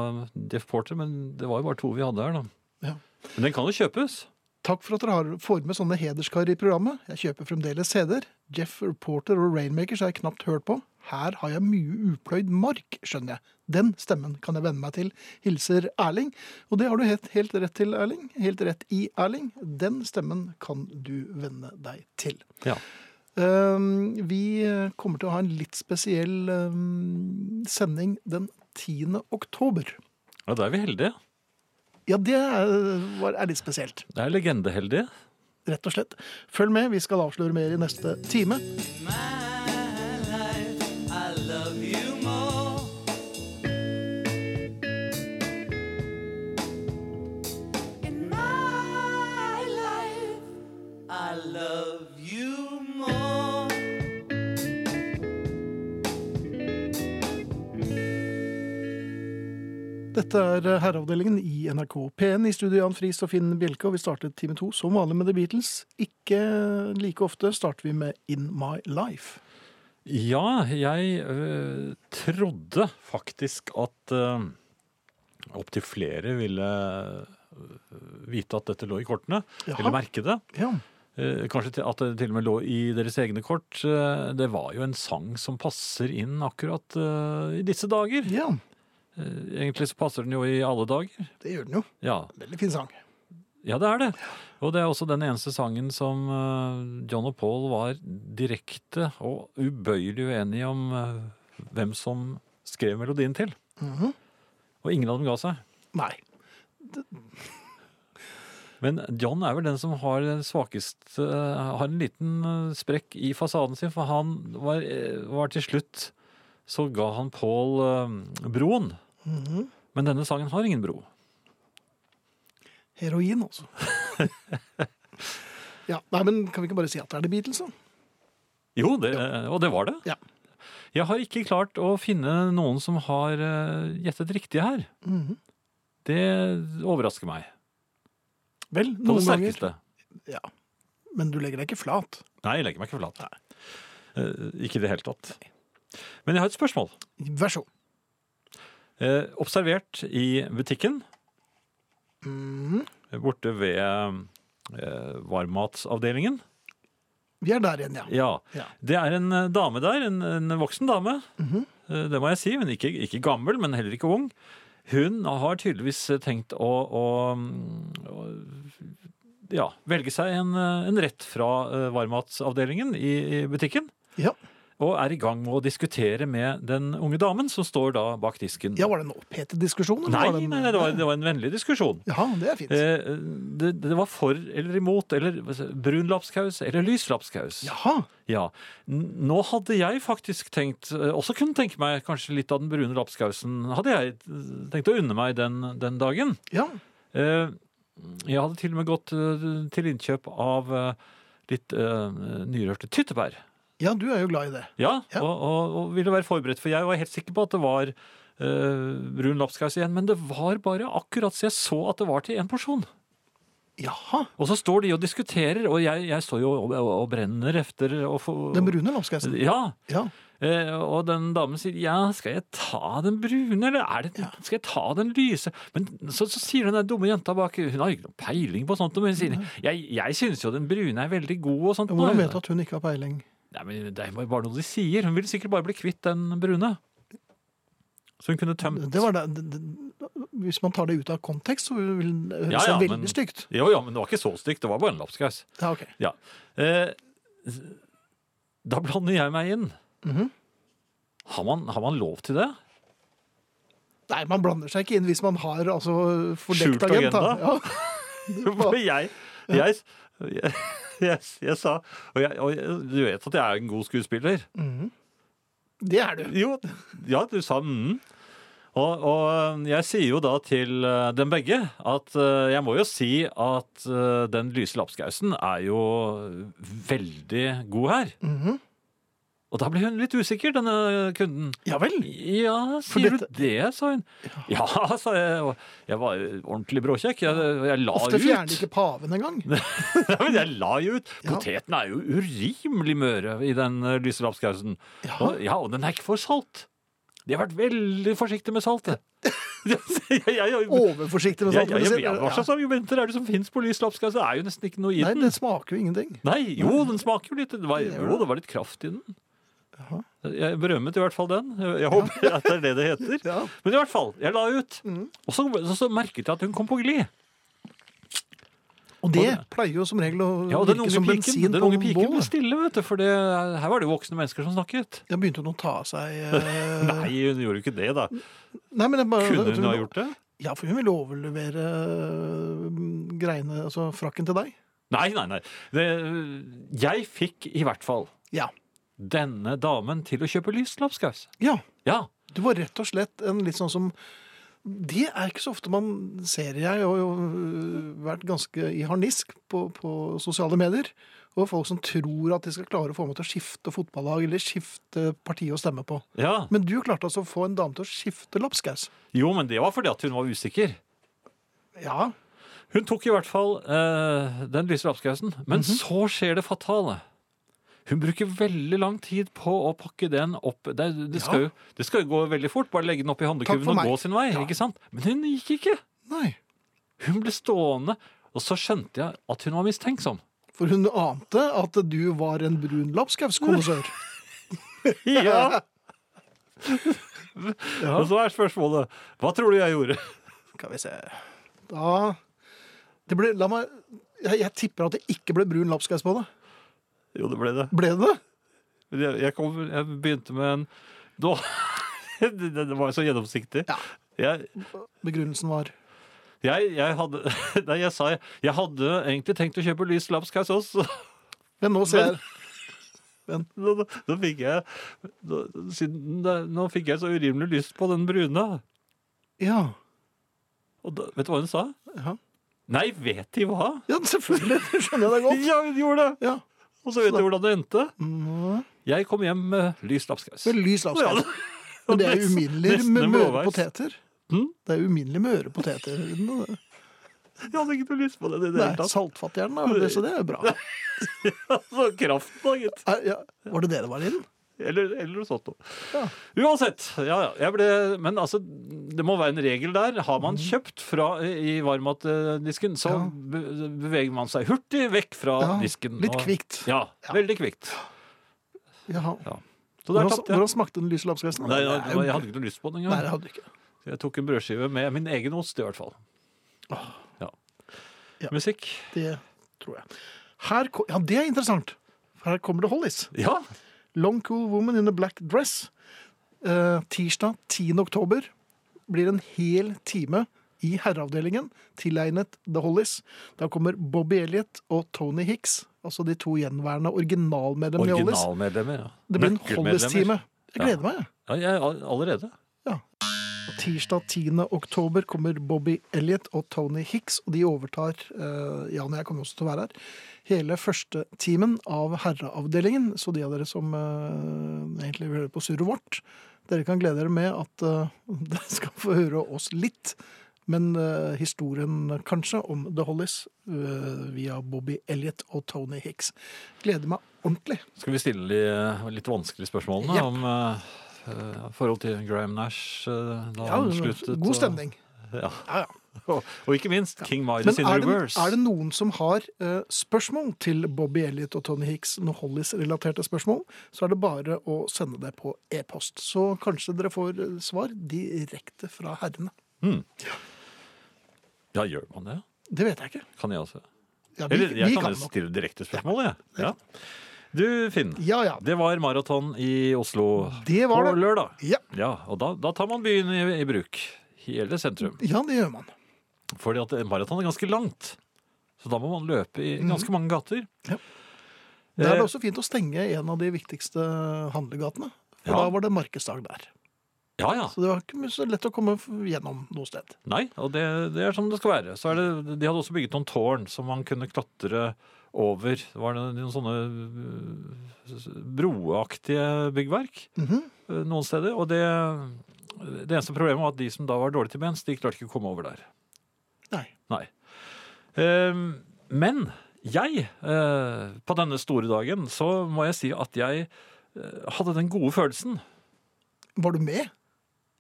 Jeff Porter, men det var jo bare to vi hadde her, da.
Ja.
Men den kan jo kjøpes.
Takk for at dere har, får med sånne hederskar i programmet. Jeg kjøper fremdeles CD-er. Jeff Porter og Rainmakers har jeg knapt hørt på. Her har jeg mye upløyd mark, skjønner jeg. Den stemmen kan jeg venne meg til. Hilser Erling. Og det har du helt, helt rett til, Erling. Helt rett i, Erling. Den stemmen kan du venne deg til.
Ja.
Um, Vi kommer til å ha en litt spesiell um, sending den 10. oktober.
ja, da er vi heldige.
Ja, det er, var- er litt spesielt.
Det er legendeheldige.
rett og slett. Følg med, vi skal avsløre mer i neste time.
In my life, I love you more.
Dette er eh, Herreavdelingen i NRK P1 i studio Jan Friis og Finn Bjelke, og vi startet time to som vanlig med The Beatles. Ikke like ofte starter vi med In My Life.
Ja, jeg øh, trodde faktisk at øh, opptil flere ville øh, vite at dette lå i kortene,
Jaha.
eller merke det.
Ja,
Eh, kanskje til, at det til og med lå i deres egne kort. Eh, det var jo en sang som passer inn akkurat øh, i disse dager.
ja
Eh, egentlig så passer den jo i alle dager.
det gjør den jo.
Ja,
Veldig fin sang.
Ja, det er det. Og det er også den eneste sangen som eh, John og Paul var direkte og ubøyelig uenige om eh, hvem som skrev melodien til. Og ingen av dem ga seg.
Nei.
Men John er vel den som har den svakeste eh, Har en liten eh, sprekk i fasaden sin, for han var, eh, var til slutt Så ga han Paul eh, broen. Men denne sangen har ingen bro.
Heroin, altså. ja, nei, men kan vi ikke bare si at det er The Beatles, da?
Jo, det, og det var det.
Ja.
Jeg har ikke klart å finne noen som har eh, gjettet riktig her.
Mhm.
Det overrasker meg.
Vel,
På
noen
det
ganger.
sterkeste.
Ja. Men du legger deg ikke flat.
Nei, jeg legger meg ikke flat. Eh, Ikke i det hele tatt. Men jeg har et spørsmål.
Vær så god.
Eh, observert i butikken
Mhm.
borte ved eh, varmmatsavdelingen.
Vi er der igjen, ja.
Ja.
Ja. Mhm.
Det er en eh, dame der, en, en voksen dame. Eh, Det må jeg si. Hun er ikke, ikke gammel, men heller ikke ung. Hun har tydeligvis eh, tenkt å, å, mm, å ja, velge seg en, eh, en rett fra eh, varmmatsavdelingen i, i butikken.
Ja,
Og er i gang med å diskutere med den unge damen som står da bak disken.
ja Var det en opphetet diskusjon? eller
Nei,
var det
nei,
en-
nei det, var, det var en vennlig diskusjon.
Ja, det er fint.
Eh, Det, det var for eller imot, eller hva sier- brun lapskaus eller lys lapskaus.
Jaha.
Ja. N- Nå hadde jeg faktisk tenkt, eh, også kunne tenke meg kanskje litt av den brune lapskausen, hadde jeg eh, tenkt å unne meg den, den dagen.
Ja.
Eh, Jeg hadde til og med gått eh, til innkjøp av eh, litt eh, nyrørte tyttebær.
ja, du er jo glad i det.
Ja,
Ja.
Og, og, og ville være forberedt, for jeg var helt sikker på at det var eh, brun lapskaus igjen, men det var bare akkurat så jeg så at det var til en porsjon.
Jaha.
Og så står de og diskuterer, og jeg, jeg står jo og, og, og brenner efter. Og får-
Den brune lapskausen.
Ja,
Ja.
Eh, og den damen sier ja, skal jeg ta den brune, eller er det, skal jeg ta den lyse? Men så, så sier den der dumme jenta bak, hun har ikke noen peiling på sånt, men hun sier jeg, jeg synes jo den brune er veldig god og sånt.
Hvordan vet du at hun ikke har peiling?
Nei, men det er jo bare noe de sier. Hun ville sikkert bare bli kvitt den brune. Så hun kunne tømt
Det var da- det, det, hvis man tar det ut av kontekst, så vil det høres
Ja, ja,
veldig
men-
stygt.
Jo, ja, men det var ikke så stygt. Det var bare en lapskaus.
Ja, ok.
Ja. Eh, da blander jeg meg inn.
Mhm.
har, man, har man lov til det?
Nei, man blander seg ikke inn hvis man har altså, fordekt
Skjult
agent. da.
agenda?
Ja.
For jeg, jeg, jeg, jeg, jeg sa og, jeg, og jeg, du vet at jeg er en god skuespiller.
Det er du.
Jo, ja, du sa mm. Og, og jeg sier jo da til eh, dem begge at eh, jeg må jo si at eh, den lyse lapskausen er jo veldig god her.
Mhm.
Og da ble hun litt usikker, denne kunden.
Ja vel.
Ja,
For
sier
dette-
du det, sa hun. Ja, sa jeg. og Jeg var ordentlig bråkjekk. Jeg, jeg la
Ofte
ut.
fjerner ikke paven engang.
Nei, men jeg la jo ut. Potetene er jo urimelig møre i den eh, lyse lapskausen.
Jaha.
Og, ja, og den er ikke for salt. De har vært veldig forsiktige med saltet. jeg, jeg, jeg, jeg,
Overforsiktig med
jeg,
sånt. men det
jeg,
ser-
vet hva slags argumenter er det som fins på lys lapskaus? Det er jo nesten ikke noe i
Nei,
den.
det smaker jo ingenting.
Nei, jo, den smaker jo litt. Det var, jo, det var litt kraft i den. Jeg berømmet i hvert fall den. Jeg, jeg håper at det er det det heter.
Ja. Mm.
Men i hvert fall, jeg la ut. Og så, så, så merket jeg at hun kom på glid.
Og det pleier jo som regel å
Ja, og den
virke
unge
som
piken,
bensin
den
på
unge
en
piken ble
bål.
stille, vet du, for det, her var det jo voksne mennesker som snakket.
Ja, begynte hun å ta av seg eh,
Nei, hun gjorde jo ikke det, da.
Nei, men jeg bare,
Kunne hun ha gjort det?
Ja, for hun ville overlevere eh, greiene, mm, altså frakken til deg.
Nei, nei, nei. Det, jeg fikk i hvert fall
Ja.
denne damen til å kjøpe livslapskaus.
ja.
Ja.
Du var rett og slett en litt sånn som Det er ikke så ofte man ser. Jeg har jo øh, vært ganske i harnisk på, på sosiale medier. Og folk som tror at de skal klare å få meg til å skifte fotballag eller skifte parti å stemme på.
ja.
Men du klarte altså å få en dame til å skifte lapskaus.
Jo, men det var fordi at hun var usikker.
Ja.
Hun tok i hvert fall eh, den lyse lapskausen. Men så skjer det fatale. Hun bruker veldig lang tid på å pakke den opp. Det, det,
Ja.
skal, jo, det skal jo gå veldig fort. Bare legge den opp i
Takk
handlekurven
for
og
meg.
gå sin vei.
Ja.
ikke sant? Men hun gikk ikke.
Nei.
Hun ble stående. Og så skjønte jeg at hun var mistenksom.
For hun ante at du var en brun lapskauskonnoissør.
Ja. Og så er spørsmålet Hva tror du jeg gjorde?
Skal vi se Da det ble, La meg jeg, jeg tipper at det ikke ble brun lapskaus på det.
Jo, det ble det.
Ble det det?
Jeg, jeg, kom, jeg begynte med en da, det, det var så gjennomsiktig.
Ja.
Jeg,
Begrunnelsen var
Jeg, jeg hadde Nei, jeg sa jeg, jeg hadde egentlig tenkt å kjøpe lys lapskaus også.
Men nå ser jeg
Nå, nå, nå fikk jeg nå, siden, det- nå fikk jeg så urimelig lyst på den brune.
Ja.
Og da, vet du hva hun sa?
Ja.
Nei, vet De hva?
ja, selvfølgelig. Det skjønner jeg deg godt.
Ja, hun gjorde det!
Ja.
Og så vet du hvordan det endte? Jeg kom hjem med lys lapskaus.
Med lys
Ja,
lapskaus.
det-
Men det er
nesten-
uminnelig
nesten
med
en
møre
blåveis.
poteter.
Hm?
Det er uminnelig med øre poteter.
Jeg hadde ikke noe lyst på det. i det
Nei,
hele tatt.
saltfattigjern, da. Det- så det er bra.
Så kraften, da, gitt.
Er- Ja. Var det det det var, Linn?
Eller, eller noe sånt. noe.
Ja.
Uansett. Ja, ja. Jeg ble, men altså, det må være en regel der. Har man kjøpt fra, i varmmatdisken, så
Mhm. Ja.
be- beveger man seg hurtig vekk fra
Ja,
disken.
litt
og-
kvikt.
Ja,
Ja.
veldig kvikt.
Jaha.
Så der
Hvordan,
tapte jeg.
hvordan smakte den lyse lapskausen?
Nei, jeg,
Det er jo-
jeg hadde ikke noe lyst på den
Nei, det
engang.
hadde du ikke.
Jeg tok en brødskive med min egen ost, i hvert fall. Ja.
Ja.
Musikk.
Det tror jeg. Her, ko- ja, det er interessant. For her kommer det Hollies.
Ja.
Long Cool Woman in a Black Dress. Eh, tirsdag 10. oktober blir en hel time i herreavdelingen tilegnet The Hollies. Da kommer Bobby Elliot og Tony Hicks, altså de to gjenværende originalmedlemmene i Hollies.
Originalmedlemmer. Ja.
Det blir en
Nøkkelmedlemmer.
Hollies-time. Jeg gleder
Ja.
meg, jeg.
Ja, jeg. all- Allerede.
Tirsdag 10. oktober kommer Bobby Elliot og Tony Hicks, og de overtar eh, Jan og jeg kommer også til å være her. Hele første timen av herreavdelingen, så de av dere som eh, egentlig vil høre på surret vårt, dere kan glede dere med at eh, dere skal få høre oss litt, men eh, historien kanskje om The Hollies eh, via Bobby Elliot og Tony Hicks. Gleder meg ordentlig.
Skal vi stille de eh, litt vanskelige spørsmålene
Jepp.
om eh, eh, forhold til Graham Nash eh, da
Ja,
han sluttet? og-
god stemning.
Ja.
Ja, ja.
Og, og ikke minst King Midas
Men
in
er det,
Reverse.
er det noen som har eh, spørsmål til Bobby Elliot og Tony Hicks når Hollies-relaterte spørsmål, så er det bare å sende det på e-post. Så kanskje dere får eh, svar direkte fra herrene.
Ja, gjør man det?
Det vet jeg ikke.
Kan jeg også?
Ja, vi,
Eller jeg
vi
kan,
kan nok.
stille direkte spørsmål, jeg. Ja. Du, Finn.
Ja, ja.
Det var maraton i Oslo
Det var
på
det.
lørdag.
Ja.
og da, da tar man byen i, i bruk. Hele sentrum.
Ja, det gjør man.
Fordi at maraton er ganske langt. Så da må man løpe i ganske mange gater.
Da er
Eh,
Mm. det også fint å stenge en av de viktigste handlegatene. For
Ja.
da var det markedsdag der.
Ja, ja.
Så det var ikke så lett å komme f- gjennom noe sted.
Nei, og det, det er som det skal være. Så er det, de hadde også bygget noen tårn som man kunne klatre over. Det var noen noen sånne øh, broaktige byggverk
Mhm.
øh, noen steder. Og det, det eneste problemet var at de som da var dårlige til bens, de klarte ikke å komme over der.
Nei.
Nei. Ehm, men jeg, eh, på denne store dagen, så må jeg si at jeg eh, hadde den gode følelsen
Var du med?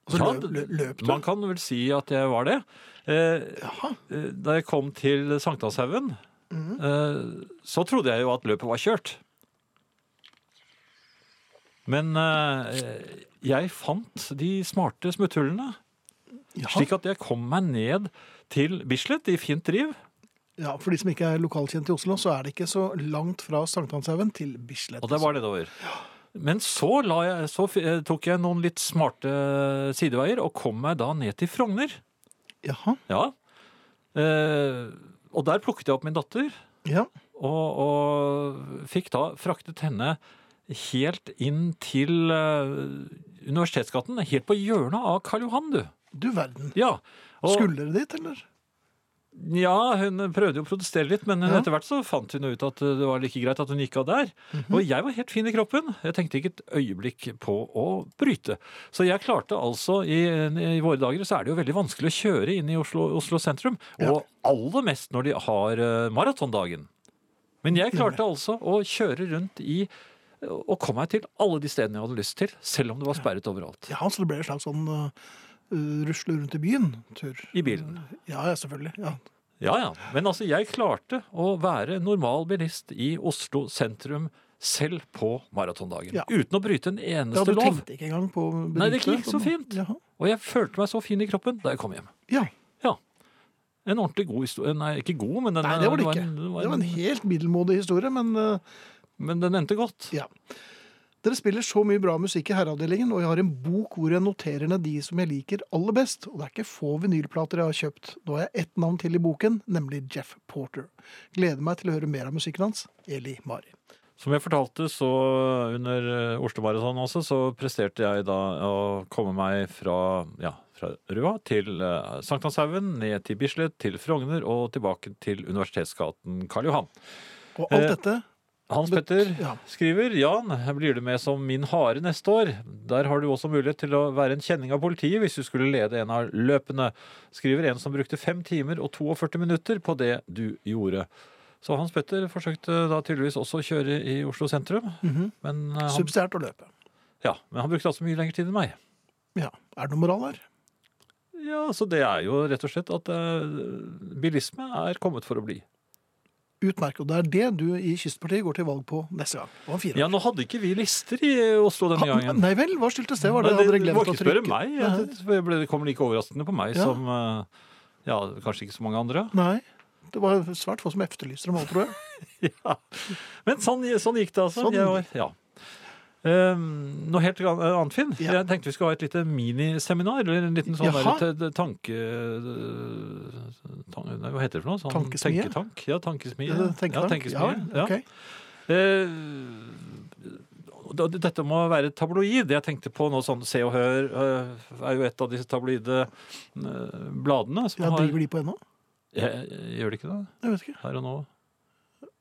Altså,
Ja,
løp, lø- løp du?
Man kan vel si at jeg var det. Eh, eh, Da jeg kom til Sankthanshaugen, eh, så trodde jeg jo at løpet var kjørt. Men eh, jeg fant de smarte smutthullene,
Ja.
slik at jeg kom meg ned til Bislett i fint driv.
ja, For de som ikke er lokalkjent i Oslo, så er det ikke så langt fra Sankthanshaugen til Bislett.
Og det var nedover. Men så, la jeg, så f- eh, tok jeg noen litt smarte eh, sideveier og kom meg da ned til Frogner.
Jaha.
Ja. Eh, og der plukket jeg opp min datter,
Ja.
og, og fikk da fraktet henne helt inn til eh, Universitetsgaten, helt på hjørnet av Karl Johan, du.
Du verden.
Ja, og,
Skulderen ditt, eller?
ja, hun prøvde jo å protestere litt, men
Ja.
etter hvert så fant hun jo ut at det var like greit at hun gikk av der.
Mhm.
Og jeg var helt fin i kroppen. Jeg tenkte ikke et øyeblikk på å bryte. Så jeg klarte altså I, i våre dager så er det jo veldig vanskelig å kjøre inn i Oslo, Oslo sentrum. Og aller mest når de har eh, maratondagen. Men jeg klarte altså å kjøre rundt i og kom meg til alle de stedene jeg hadde lyst til, selv om det var sperret overalt.
Ja, så det ble en slags sånn uh, rusle rundt i byen-tur.
I bilen.
Ja, ja, selvfølgelig. Ja.
Ja, ja. Men altså, jeg klarte å være normal bilist i Oslo sentrum selv på maratondagen.
Ja.
Uten å bryte en
ja,
eneste
du
lov.
tenkte ikke engang på
Nei, det
benytte.
gikk så fint.
Jaha.
Og jeg følte meg så fin i kroppen da jeg kom hjem.
Ja.
Ja. En ordentlig god historie. Nei, ikke god, men den,
Nei, det var det ikke.
en-
Det
det var
var
en-
en helt middelmådig historie, men uh,
men den endte godt.
ja. Dere spiller så mye bra musikk i herreavdelingen, og jeg har en bok hvor jeg noterer ned de som jeg liker aller best. Og det er ikke få vinylplater jeg har kjøpt. Nå har jeg ett navn til i boken, nemlig Jeff Porter. Gleder meg til å høre mer av musikken hans. Eli Mari.
Som jeg fortalte, så under eh, Oslo Marathon også, så presterte jeg da å komme meg fra, ja, fra Røa til eh, Sankthanshaugen, ned til Bislett, til Frogner og tilbake til Universitetsgaten Karl Johan.
Og alt
Eh,
dette
Hans
Bet-
Petter
ja.
skriver Jan, her blir du med som min hare neste år. Der har du også mulighet til å være en kjenning av politiet hvis du skulle lede en av løpene. Skriver en som brukte fem timer og 42 minutter på det du gjorde. Så Hans Petter forsøkte da tydeligvis også å kjøre i Oslo sentrum.
Mhm.
men, eh, han,
subsidiært å løpe.
ja, men han brukte altså mye lengre tid enn meg.
Ja. Er det noe moral her?
Ja, Så det er jo rett og slett at eh, bilisme er kommet for å bli.
Utmerket. Og det er det du i Kystpartiet går til valg på neste gang. Og om fire år.
Ja, Nå hadde ikke vi lister i Oslo denne
Ha-
gangen.
Nei vel, hva skyldtes det? Var det
Nei,
hadde dere
må
glemt å
ikke spørre
trykke?
meg. eh, Jeg- Det ble- det kom like overraskende på meg
Ja.
som eh, ja, kanskje ikke så mange andre.
Nei. Det var svært få som efterlyser dem òg, tror jeg.
Ja. Men sånn, sånn gikk det, altså.
Sånn
Jeg var, ja. Ehm, noe helt an- annet, Finn.
Ja.
Jeg tenkte vi skulle ha et lite miniseminar. Eller en liten sånn
Jaha.
der, te- tanke... eh, tan- nei, hva heter det for noe? Sånn,
Tankesmie?
Tenketank? Ja, tankesmie.
Eh, tenker
ja,
tank.
tenkesmie. Ja.
ok.
Eh, da- Dette må være tabloid. Jeg tenkte på noe sånn Se og Hør eh, er jo et av disse tabloide eh, bladene. Som
Ja,
har,
driver de på ennå?
Jeg, gjør det ikke det?
Jeg vet ikke.
Her og nå?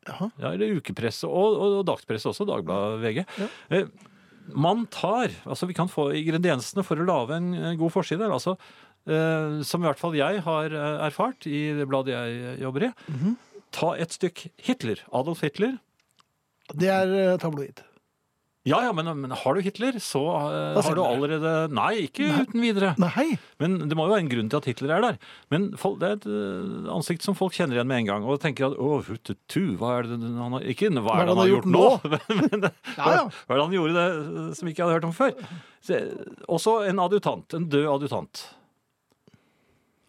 Jaha.
Ja, eller ukepresse og, og, og dagspresse også. Dagbladet VG. Eh, man tar altså Vi kan få ingrediensene for å lage en eh, god forside. eller Altså, eh, som i hvert fall jeg har eh, erfart i det bladet jeg eh, jobber i.
Mhm.
Ta et stykk Hitler. Adolf Hitler.
Det er eh, tabloid.
Ja, ja, men, men har du Hitler, så eh,
Da
har du
stemmer
allerede Nei, ikke uten videre.
Nei, hei!
Men det må jo være en grunn til at Hitler er der. Men folk, det er et eh, ansikt som folk kjenner igjen med en gang, og tenker at åh, huttetu, hva er det han har Ikke hva er det han har gjort nå, men, men
Ja, ja.
hva er det han gjorde det, eh, som ikke jeg hadde hørt om før? Så, eh, også en adjutant. En død adjutant.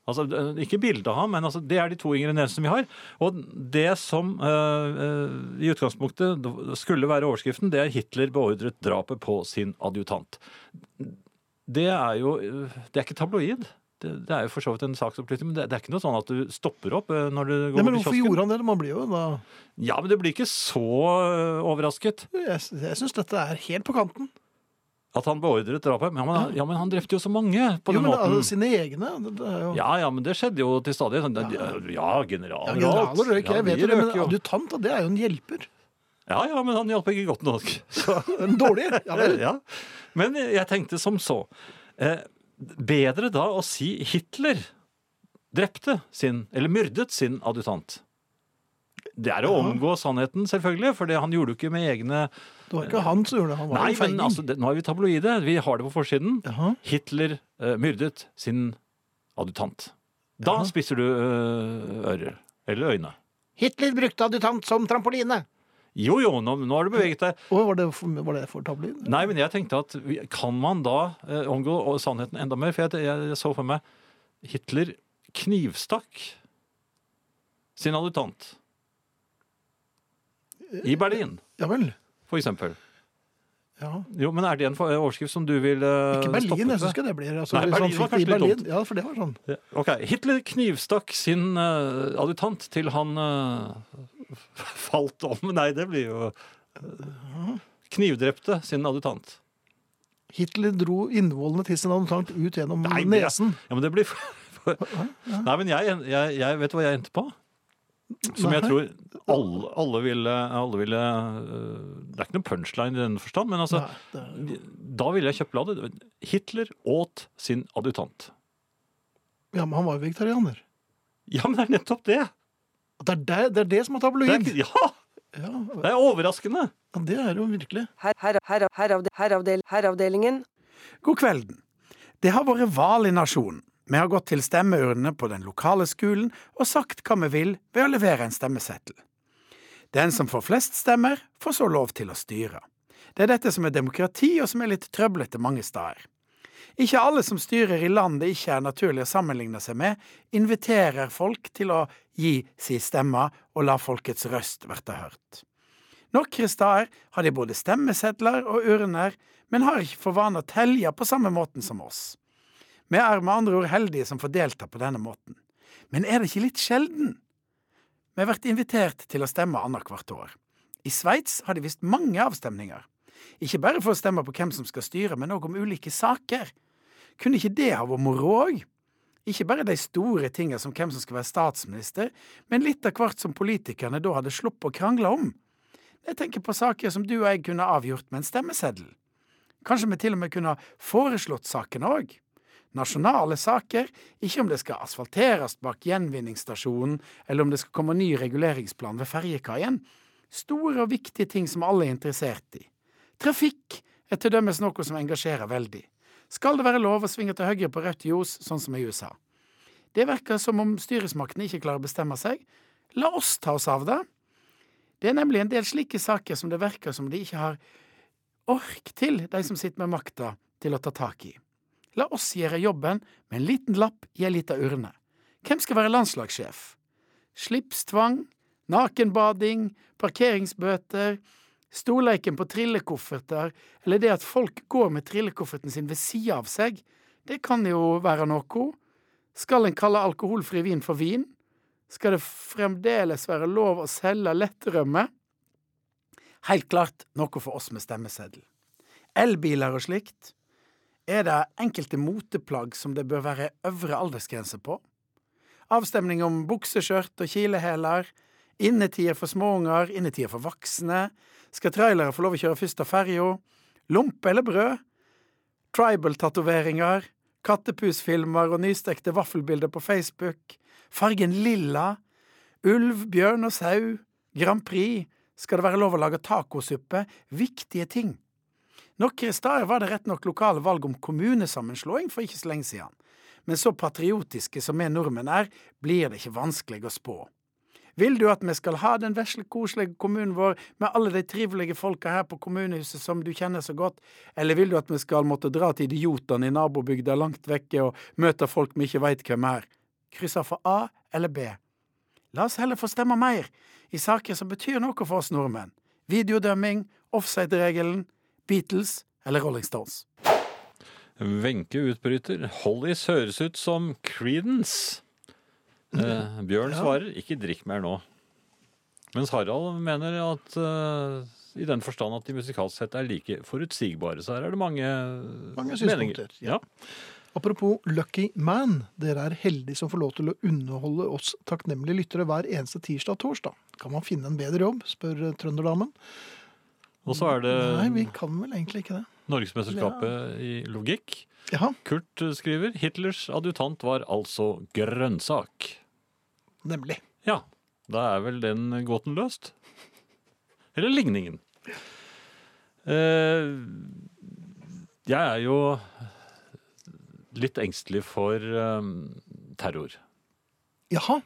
Altså, eh, ikke bilde av ham, men altså, det er de to ingrediensene vi har. Og det som eh, eh, i utgangspunktet skulle være overskriften, det er Hitler beordret drapet på sin adjutant. Det er jo eh, Det er ikke tabloid. Det, det er jo for så vidt en saksoppflytting, men det, det er ikke noe sånn at du stopper opp eh, når du går
Nei, men
over
hvorfor
kiosken.
gjorde han det? Man blir jo da
Ja, men du blir ikke så eh, overrasket
Jeg, jeg syns dette er helt på kanten.
at han beordret drapet. Men, ja, men, ja, men han drepte jo så mange på
jo,
den
men
måten.
altså, sine egne det er jo...
Ja, ja, men det skjedde jo til stadig. Sånn, ja, ja, generaler
Ja,
og alt.
Generaler røyk, jeg
Ja,
vet
de
jo det,
røyk
men
jo.
adjutant, da, det er jo en hjelper.
Ja, ja, men han hjalp ikke godt nok. Så,
En dårlig. Ja vel.
ja. Eh, Men jeg tenkte som så. Eh, bedre da å si Hitler drepte sin, eller myrdet sin adjutant. Det er å omgå sannheten, selvfølgelig, for det han gjorde jo ikke med egne
Det var ikke han som gjorde det, han var
Nei,
en
men
feiging.
altså, det, nå er vi tabloide. Vi har det på forsiden.
Jaha.
Hitler eh, myrdet sin adjutant. Da spisser du eh, ører. Eller øyne.
Hitler brukte adjutant som trampoline.
Jo, jo, nå, nå har du beveget deg.
Og var det for, var det for tabloid?
Nei, men jeg tenkte at vi- kan man da eh, omgå sannheten enda mer? For jeg, jeg så for meg Hitler knivstakk sin adjutant.
Eh,
I Berlin,
Ja vel.
for eksempel.
Ja.
Jo, men er det en for- eh, overskrift som du vil eh,
Ikke
stoppe
Berlin, jeg syns
med?
ikke det blir altså,
Nei,
hvis han
Berlin var
fikk det i
kanskje litt
Berlin.
dumt.
Ja, for det var sånn.
Ja, Ok, Hitler knivstakk sin eh, adjutant til han eh, falt om. Nei, det blir jo eh, Knivdrepte sin adjutant.
Hitler dro innvollene til sin adjutant ut gjennom
Nei, men-
nesen.
Ja, men det blir Nei, men jeg, jeg, jeg vet hva jeg endte på. Som jeg
Nei.
tror alle, alle ville, alle ville øh, Det er ikke noen punchline i den forstand, men altså Da ville jeg kjøpt bladet. Hitler åt sin adjutant.
Ja, men han var jo vegetarianer.
Ja, men det er nettopp det!
Det er det, det, er det som er
Det
tabloid!
er, ja,
Ja,
det er overraskende!
ja, det er jo virkelig.
Her, her, her, heravde- heravdel- herreavdelingen.
God kvelden. Det har vært valg i nasjonen. Vi har gått til stemmeurnene på den lokale skolen og sagt hva vi vil ved å levere en stemmeseddel. Den som får flest stemmer, får så lov til å styre. Det er dette som er demokrati, og som er litt trøblete mange steder. Ikke alle som styrer i land det ikke er naturlig å sammenligne seg med, inviterer folk til å gi si stemme og la folkets røst bli hørt. Noen steder har de både stemmesedler og urner, men har ikke for vane å telle på samme måten som oss. Vi er med andre ord heldige som får delta på denne måten. Men er det ikke litt sjelden? Vi har vært invitert til å stemme annethvert år. I Sveits har de visst mange avstemninger. Ikke bare for å stemme på hvem som skal styre, men òg om ulike saker. Kunne ikke det ha vært moro òg? Ikke bare de store tinga som hvem som skal være statsminister, men litt av hvert som politikerne da hadde sluppet å krangle om. Jeg tenker på saker som du og jeg kunne avgjort med en stemmeseddel. Kanskje vi til og med kunne ha foreslått sakene òg. Nasjonale saker, ikke om det skal asfalteres bak gjenvinningsstasjonen, eller om det skal komme ny reguleringsplan ved ferjekaien. Store og viktige ting som alle er interessert i. Trafikk er til dømes noe som engasjerer veldig. Skal det være lov å svinge til høyre på rødt ljos, sånn som i USA? Det virker som om styresmaktene ikke klarer å bestemme seg. La oss ta oss av det. Det er nemlig en del slike saker som det virker som de ikke har ork til, de som sitter med makta, til å ta tak i. La oss gjøre jobben med en liten lapp i ei lita urne. Hvem skal være landslagssjef? Slipstvang, nakenbading, parkeringsbøter, storleiken på trillekofferter, eller det at folk går med trillekofferten sin ved sida av seg, det kan jo være noe. Skal en kalle alkoholfri vin for vin? skal det fremdeles være lov å selge lettrømme? Helt klart noe for oss med stemmeseddel. Elbiler og slikt. Er det enkelte moteplagg som det bør være øvre aldersgrense på? Avstemning om bukseskjørt og kilehæler. Innetider for småunger, innetider for voksne. Skal trailere få lov å kjøre først av ferja? Lompe eller brød? Tribal-tatoveringer, kattepusfilmer og nystekte vaffelbilder på Facebook, fargen lilla, ulv, bjørn og sau, Grand Prix, skal det være lov å lage tacosuppe, viktige ting. Noen steder var det rett nok lokale valg om kommunesammenslåing for ikke så lenge siden, men så patriotiske som vi nordmenn er, blir det ikke vanskelig å spå. Vil du at vi skal ha den vesle, koselige kommunen vår med alle de trivelige folka her på kommunehuset som du kjenner så godt, eller vil du at vi skal måtte dra til idiotene i nabobygda langt vekke og møte folk vi ikke veit hvem er? Krysser for A eller B. La oss heller få stemme mer i saker som betyr noe for oss nordmenn. Videodømming, offside-regelen, Beatles eller Rolling Stones.
Wenche utbryter. Hollies høres ut som Creedence. Eh, Bjørn svarer ikke drikk mer nå. Mens Harald mener at eh, i den forstand at de musikalsk sett er like forutsigbare. Så her er det mange,
Mange
meninger.
synspunkter,
Ja.
Apropos Lucky Man, dere er heldige som får lov til å underholde oss takknemlige lyttere hver eneste tirsdag og torsdag. Kan man finne en bedre jobb, spør eh, trønderdamen.
Og så er det
Nei, vi kan vel egentlig ikke det.
Norgesmesterskapet i logikk.
Ja,
Kurt skriver Hitlers adjutant var altså grønnsak.
nemlig.
Ja, da er vel den gåten løst. Eller ligningen. Eh, jeg er jo litt engstelig for eh, terror.
Jaha,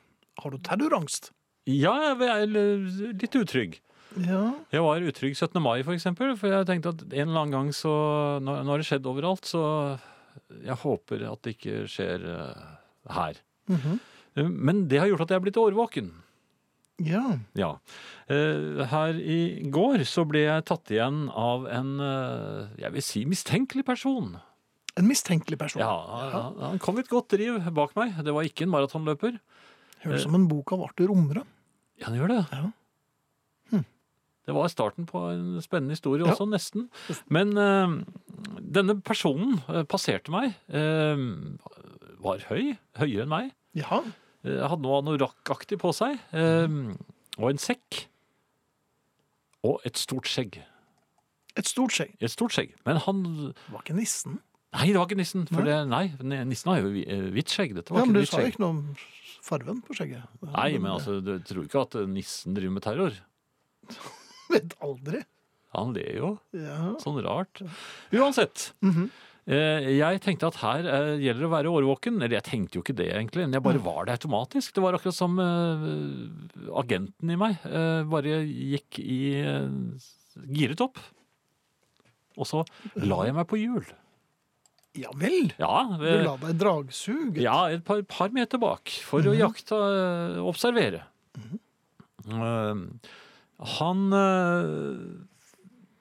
har du terrorangst?
Ja, jeg er l- litt utrygg.
Ja,
Jeg var utrygg 17. mai, for eksempel, for jeg tenkte at en eller annen gang så Nå, nå har det skjedd overalt, så jeg håper at det ikke skjer eh, her. Eh, Men det har gjort at jeg er blitt årvåken.
ja.
Ja. Eh, Her i går så ble jeg tatt igjen av en, eh, jeg vil si, mistenkelig person.
En mistenkelig person.
Ja, han- Han kom i et godt driv bak meg. Det var ikke en maratonløper.
Høres ut som en bok av Arthur Omre.
Ja, han gjør det. Hm.
Ja.
Det var starten på en spennende historie også, nesten. Men eh, denne personen eh, passerte meg. eh, var høy. Høyere enn meg.
Ja.
Eh, hadde noe anorakkaktig på seg. eh, og en sekk. Og et stort skjegg.
Et stort skjegg.
Et stort skjegg. Men han
Var ikke nissen?
Nei, det var ikke nissen. For det, nei, nissen har jo hvi- eh, hvitt skjegg. Dette var
Ja,
ikke
men du
hvitt
sa jo
skjegg.
ikke noe om farven på skjegget.
Nei, men altså, du tror ikke at nissen driver med terror?
Vet aldri.
Han ler jo.
Ja. Mhm.
Sånn rart. Uansett. eh, Jeg tenkte at her eh, gjelder det å være årvåken. Eller jeg tenkte jo ikke det, egentlig. Men jeg bare var det automatisk. Det var akkurat som eh, agenten i meg eh, bare gikk i eh, giret opp. Og så la jeg meg på hjul.
ja vel.
Ja,
Du
eh,
la deg dragsuge.
ja et par, par meter bak for
Mhm.
å jakte eh, og observere.
Mhm.
Eh, han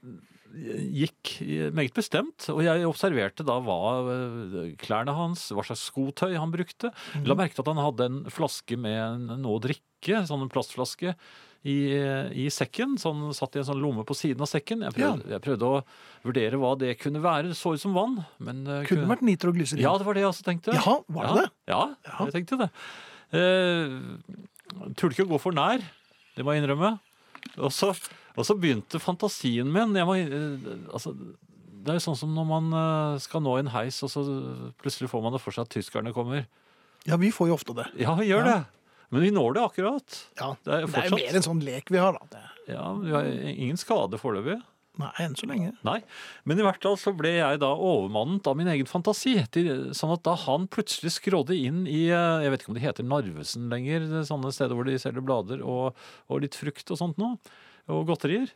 eh, gikk meget bestemt, og jeg observerte da hva eh, klærne hans, hva slags skotøy han brukte.
Mhm.
La merke til at han hadde en flaske med noe å drikke, sånn en plastflaske, i, i sekken. Så han satt i en sånn lomme på siden av sekken. Jeg prøvde, jeg prøvde å vurdere hva det kunne være. Det så ut som vann. Men, eh,
Kunne vært nitroglyserin.
ja, det var det jeg også tenkte.
Jaha, var det
ja, Ja, jeg tenkte det. Uh, Turte ikke å gå for nær, det må jeg innrømme. Og så, og så begynte fantasien min. Jeg må, eh, altså, det er jo sånn som når man eh, skal nå en heis, og så plutselig får man det for seg at tyskerne kommer.
Ja, vi får jo ofte det.
Ja, vi gjør det! Men vi når det akkurat.
Ja. Det
Det er jo
er jo
fortsatt
mer en sånn lek vi har, da. Det-
ja, Vi har ingen skade foreløpig.
Nei, enn så lenge.
Nei, men i hvert fall så ble jeg da overmannet av min egen fantasi. til- Sånn at da han plutselig skrådde inn i eh, Jeg vet ikke om det heter Narvesen lenger, det er sånne steder hvor de selger blader og, og litt frukt og sånt noe. Og godterier.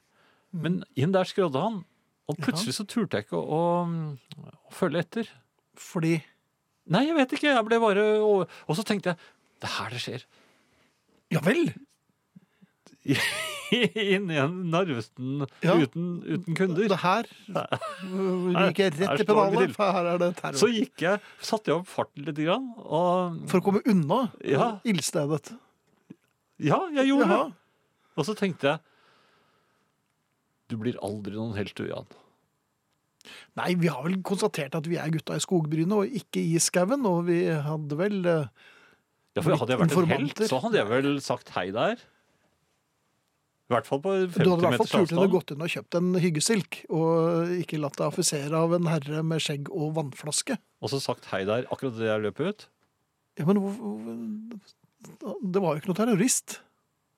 Mm.
Men inn der skrådde han. Og plutselig så turte jeg ikke å, å, å følge etter.
Fordi
Nei, jeg vet ikke. Jeg ble bare over... Og så tenkte jeg det er her det skjer.
Ja vel!
Inn i en Narvesen
Ja.
uten, uten kunder.
Det her øh, gikk jeg
Her
rett i
står det til.
pennalet, for her er det terror.
Så gikk jeg, satte jeg opp farten litt, grann, og
For å komme unna
Ja.
ildstedet.
Ja, jeg gjorde
Jaha.
det. Og så tenkte jeg Du blir aldri noen helt, du, Jan.
Nei, vi har vel konstatert at vi er gutta i skogbrynet og ikke i skauen, og vi hadde vel eh,
Ja, for Hadde jeg vært en helt,
Informanter.
så hadde jeg vel sagt hei der. I hvert fall på
Du
50
hadde i hvert fall
meters
turt å
avstand.
gått inn og kjøpt en hyggesilk, og ikke latt deg affisere av en herre med skjegg og vannflaske.
Og så sagt hei der akkurat det jeg løp ut.
Ja, men hvor- hvor- Det var jo ikke noe terrorist.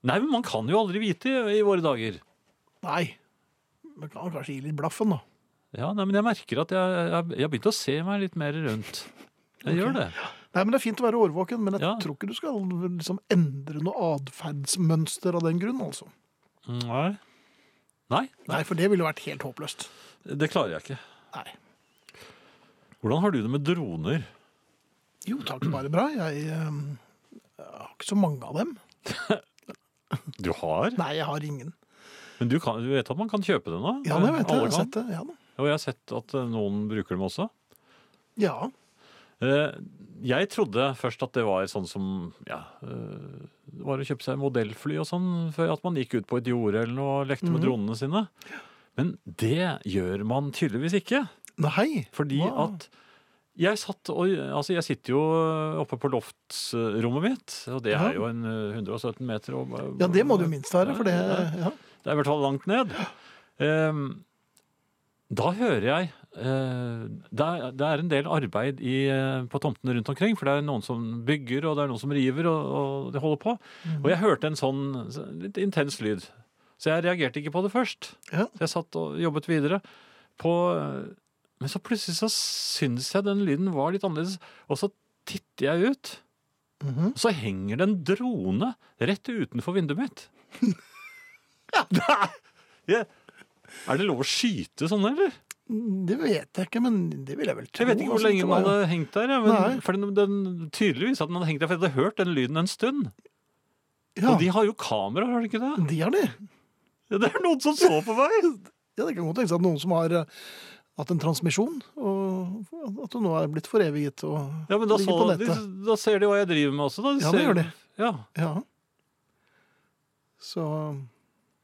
Nei, men man kan jo aldri vite i, i våre dager.
Nei. Man kan kanskje gi litt blaffen, da.
Ja, nei, Men jeg merker at jeg, jeg, jeg har begynt å se meg litt mer rundt. Jeg gjør det.
Nei, men Det er fint å være årvåken, men jeg
Ja.
tror ikke du skal liksom endre noe atferdsmønster av den grunn. altså.
Nei. nei.
Nei, for det ville vært helt håpløst.
Det klarer jeg ikke.
Nei.
Hvordan har du det med droner?
Jo, takk, bare bra. Jeg, ehm, jeg har ikke så mange av dem.
Du har?
Nei, jeg har ingen.
Men du, kan, du vet at man kan kjøpe det nå?
Ja, det vet jeg.
Alle
jeg har
kan.
sett det. Ja, da.
Og jeg har sett at eh, noen bruker dem også.
ja.
Eh, Jeg trodde først at det var sånn som ja, eh, det var å kjøpe seg modellfly og sånn, før at man gikk ut på et jorde eller noe og lekte
Mhm.
med dronene sine. Men det gjør man tydeligvis ikke.
Nei.
Fordi
Wow.
at jeg, satt og, altså jeg sitter jo eh, oppe på loftsrommet mitt, og det
Ja.
er jo en eh, 117 meter. Og,
Ja, det må det jo minst være, for det
Ja.
ja.
Det er i hvert fall langt ned. Ehm, da hører jeg eh, det, er, det er en del arbeid i, eh, på tomtene rundt omkring, for det er noen som bygger, og det er noen som river, og, og de holder på. Og jeg hørte en sånn litt intens lyd. Så jeg reagerte ikke på det først.
Ja.
Så jeg satt og jobbet videre. På, eh, men så plutselig så syns jeg den lyden var litt annerledes, og så titter jeg ut. Og så henger det en drone rett utenfor vinduet mitt. Nei! Jeg- Er det lov å skyte sånn, eller?
Det vet jeg ikke, men det vil jeg vel tro.
Jeg vet ikke hvor
altså,
lenge
det
den
var jo-
hadde hengt der. jeg, Men,
Nei.
for den, den, tydeligvis at den hadde hengt der, for jeg hadde hørt den lyden en stund.
ja,
Og de har jo kamera, har de ikke det?
de har det.
Ja, Det er noen som så på meg!
Ja, det kan godt tenkes at noen som har eh, hatt en transmisjon, og at du nå er blitt foreviget og
Ja, men da,
ligger
så,
på
de,
nettet.
da ser de hva jeg driver med også. Da. De
Ja, det
ser,
gjør de.
Ja.
Ja. Så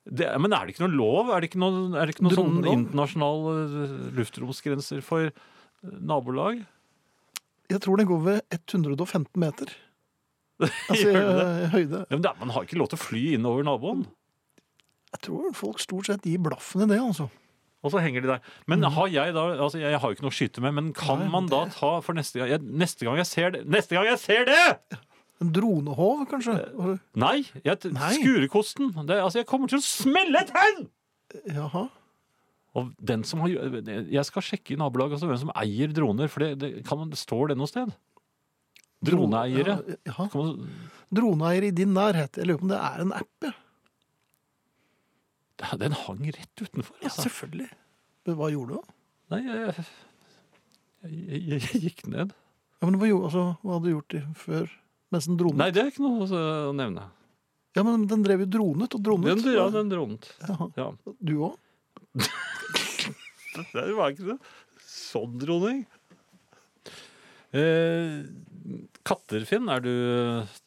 Det, men er det ikke noe lov? Er det ikke noen, er det ikke noen sånn
Dronelov?
internasjonale eh, luftromsgrenser for eh, nabolag?
Jeg tror den går ved 115 meter. Altså i
Gjør det det?
høyde.
Ja, men det er, man har ikke lov til å fly innover naboen.
Jeg tror folk stort sett gir blaffen i det, altså.
Og så henger de der. Men har jeg da altså Jeg har jo ikke noe å skyte med, men kan
Mm. Nei,
man da ta for neste gang jeg, Neste gang jeg ser det Neste gang jeg ser det!
En dronehov, kanskje?
Eh.
Var det-
Nei! Jeg, t-
Nei.
Skurekosten. Det, altså, jeg kommer til å smelle et tenn!
Jaha.
Og den som har, jeg skal sjekke i nabolaget altså, hvem som eier droner, for det, det, kan man, står det noe sted? Droneeiere.
Ja, jaha.
Kan man,
Droneeier i din nærhet. Jeg lurer på om det er en app, ja.
Ja, den hang rett utenfor. Altså.
selvfølgelig. Men hva gjorde du? da?
Nei, jeg, jeg, jeg, jeg gikk ned.
Ja, men hva, gjorde, altså, hva hadde du gjort i- før? Mens den dronet?
Nei, det er ikke noe altså, å nevne.
Ja, men den drev jo dronet og dronet.
Den, ja, den dronet.
Jaha.
Ja.
Du òg?
Det var ikke det. Sånn droning. Eh, katter, Finn, er du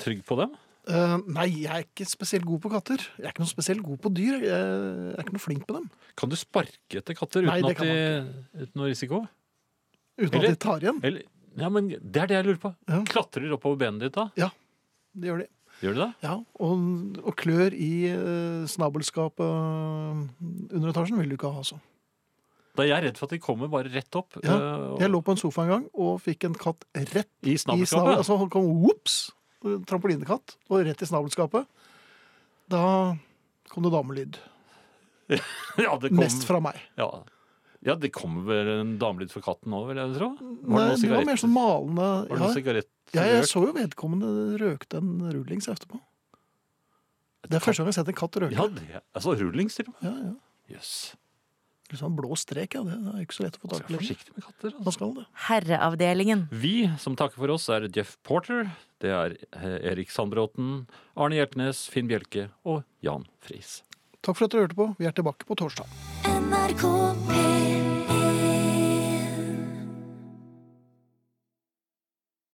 trygg på dem?
Eh, nei, jeg er ikke spesielt god på katter. Jeg er ikke noe spesielt god på dyr. Jeg er ikke noe flink på dem.
Kan du sparke etter katter uten,
Nei, det
at
kan
de, uten noe risiko?
Uten
Eller-
at de tar igjen.
Eller, ja, men Det er det jeg lurer på.
Ja.
Klatrer oppover benet ditt da?
Det gjør de.
Gjør de det?
Ja, Og, og klør i eh, snabelskapet eh, under etasjen vil du ikke ha, altså.
Da er jeg redd for at de kommer bare rett opp.
Ja,
eh, og-
Jeg lå på en sofa en gang og fikk en katt rett
I
i snabel.
snabelskapet.
Altså, han kom whoops, trampolinekatt, og rett i snabelskapet. Da kom det damelyd.
ja, det kom-
Nest fra meg.
Ja. ja, det kommer vel en damelyd for katten òg, vil jeg tro. Var
Nei,
det noe
det var mer
sigarett?
sånn malende
Var det noe
ja,
sigarett?
ja, Jeg så jo vedkommende røkte en rullings etterpå. Det er første gang jeg har sett en katt røke.
Ja, det, altså rullings til og med.
Ja, ja.
Jøss.
Litt sånn blå strek, ja. Det er ikke så lett å få
Vær
tak i lenger.
forsiktig med katter.
Da
Altså.
skal det.
Herreavdelingen.
Vi som takker for oss, er Jeff Porter, det er eh, Erik Sandbråten, Arne Hjeltnes, Finn Bjelke og Jan Friis.
Takk for at dere hørte på. Vi er tilbake på torsdag.
NRK P3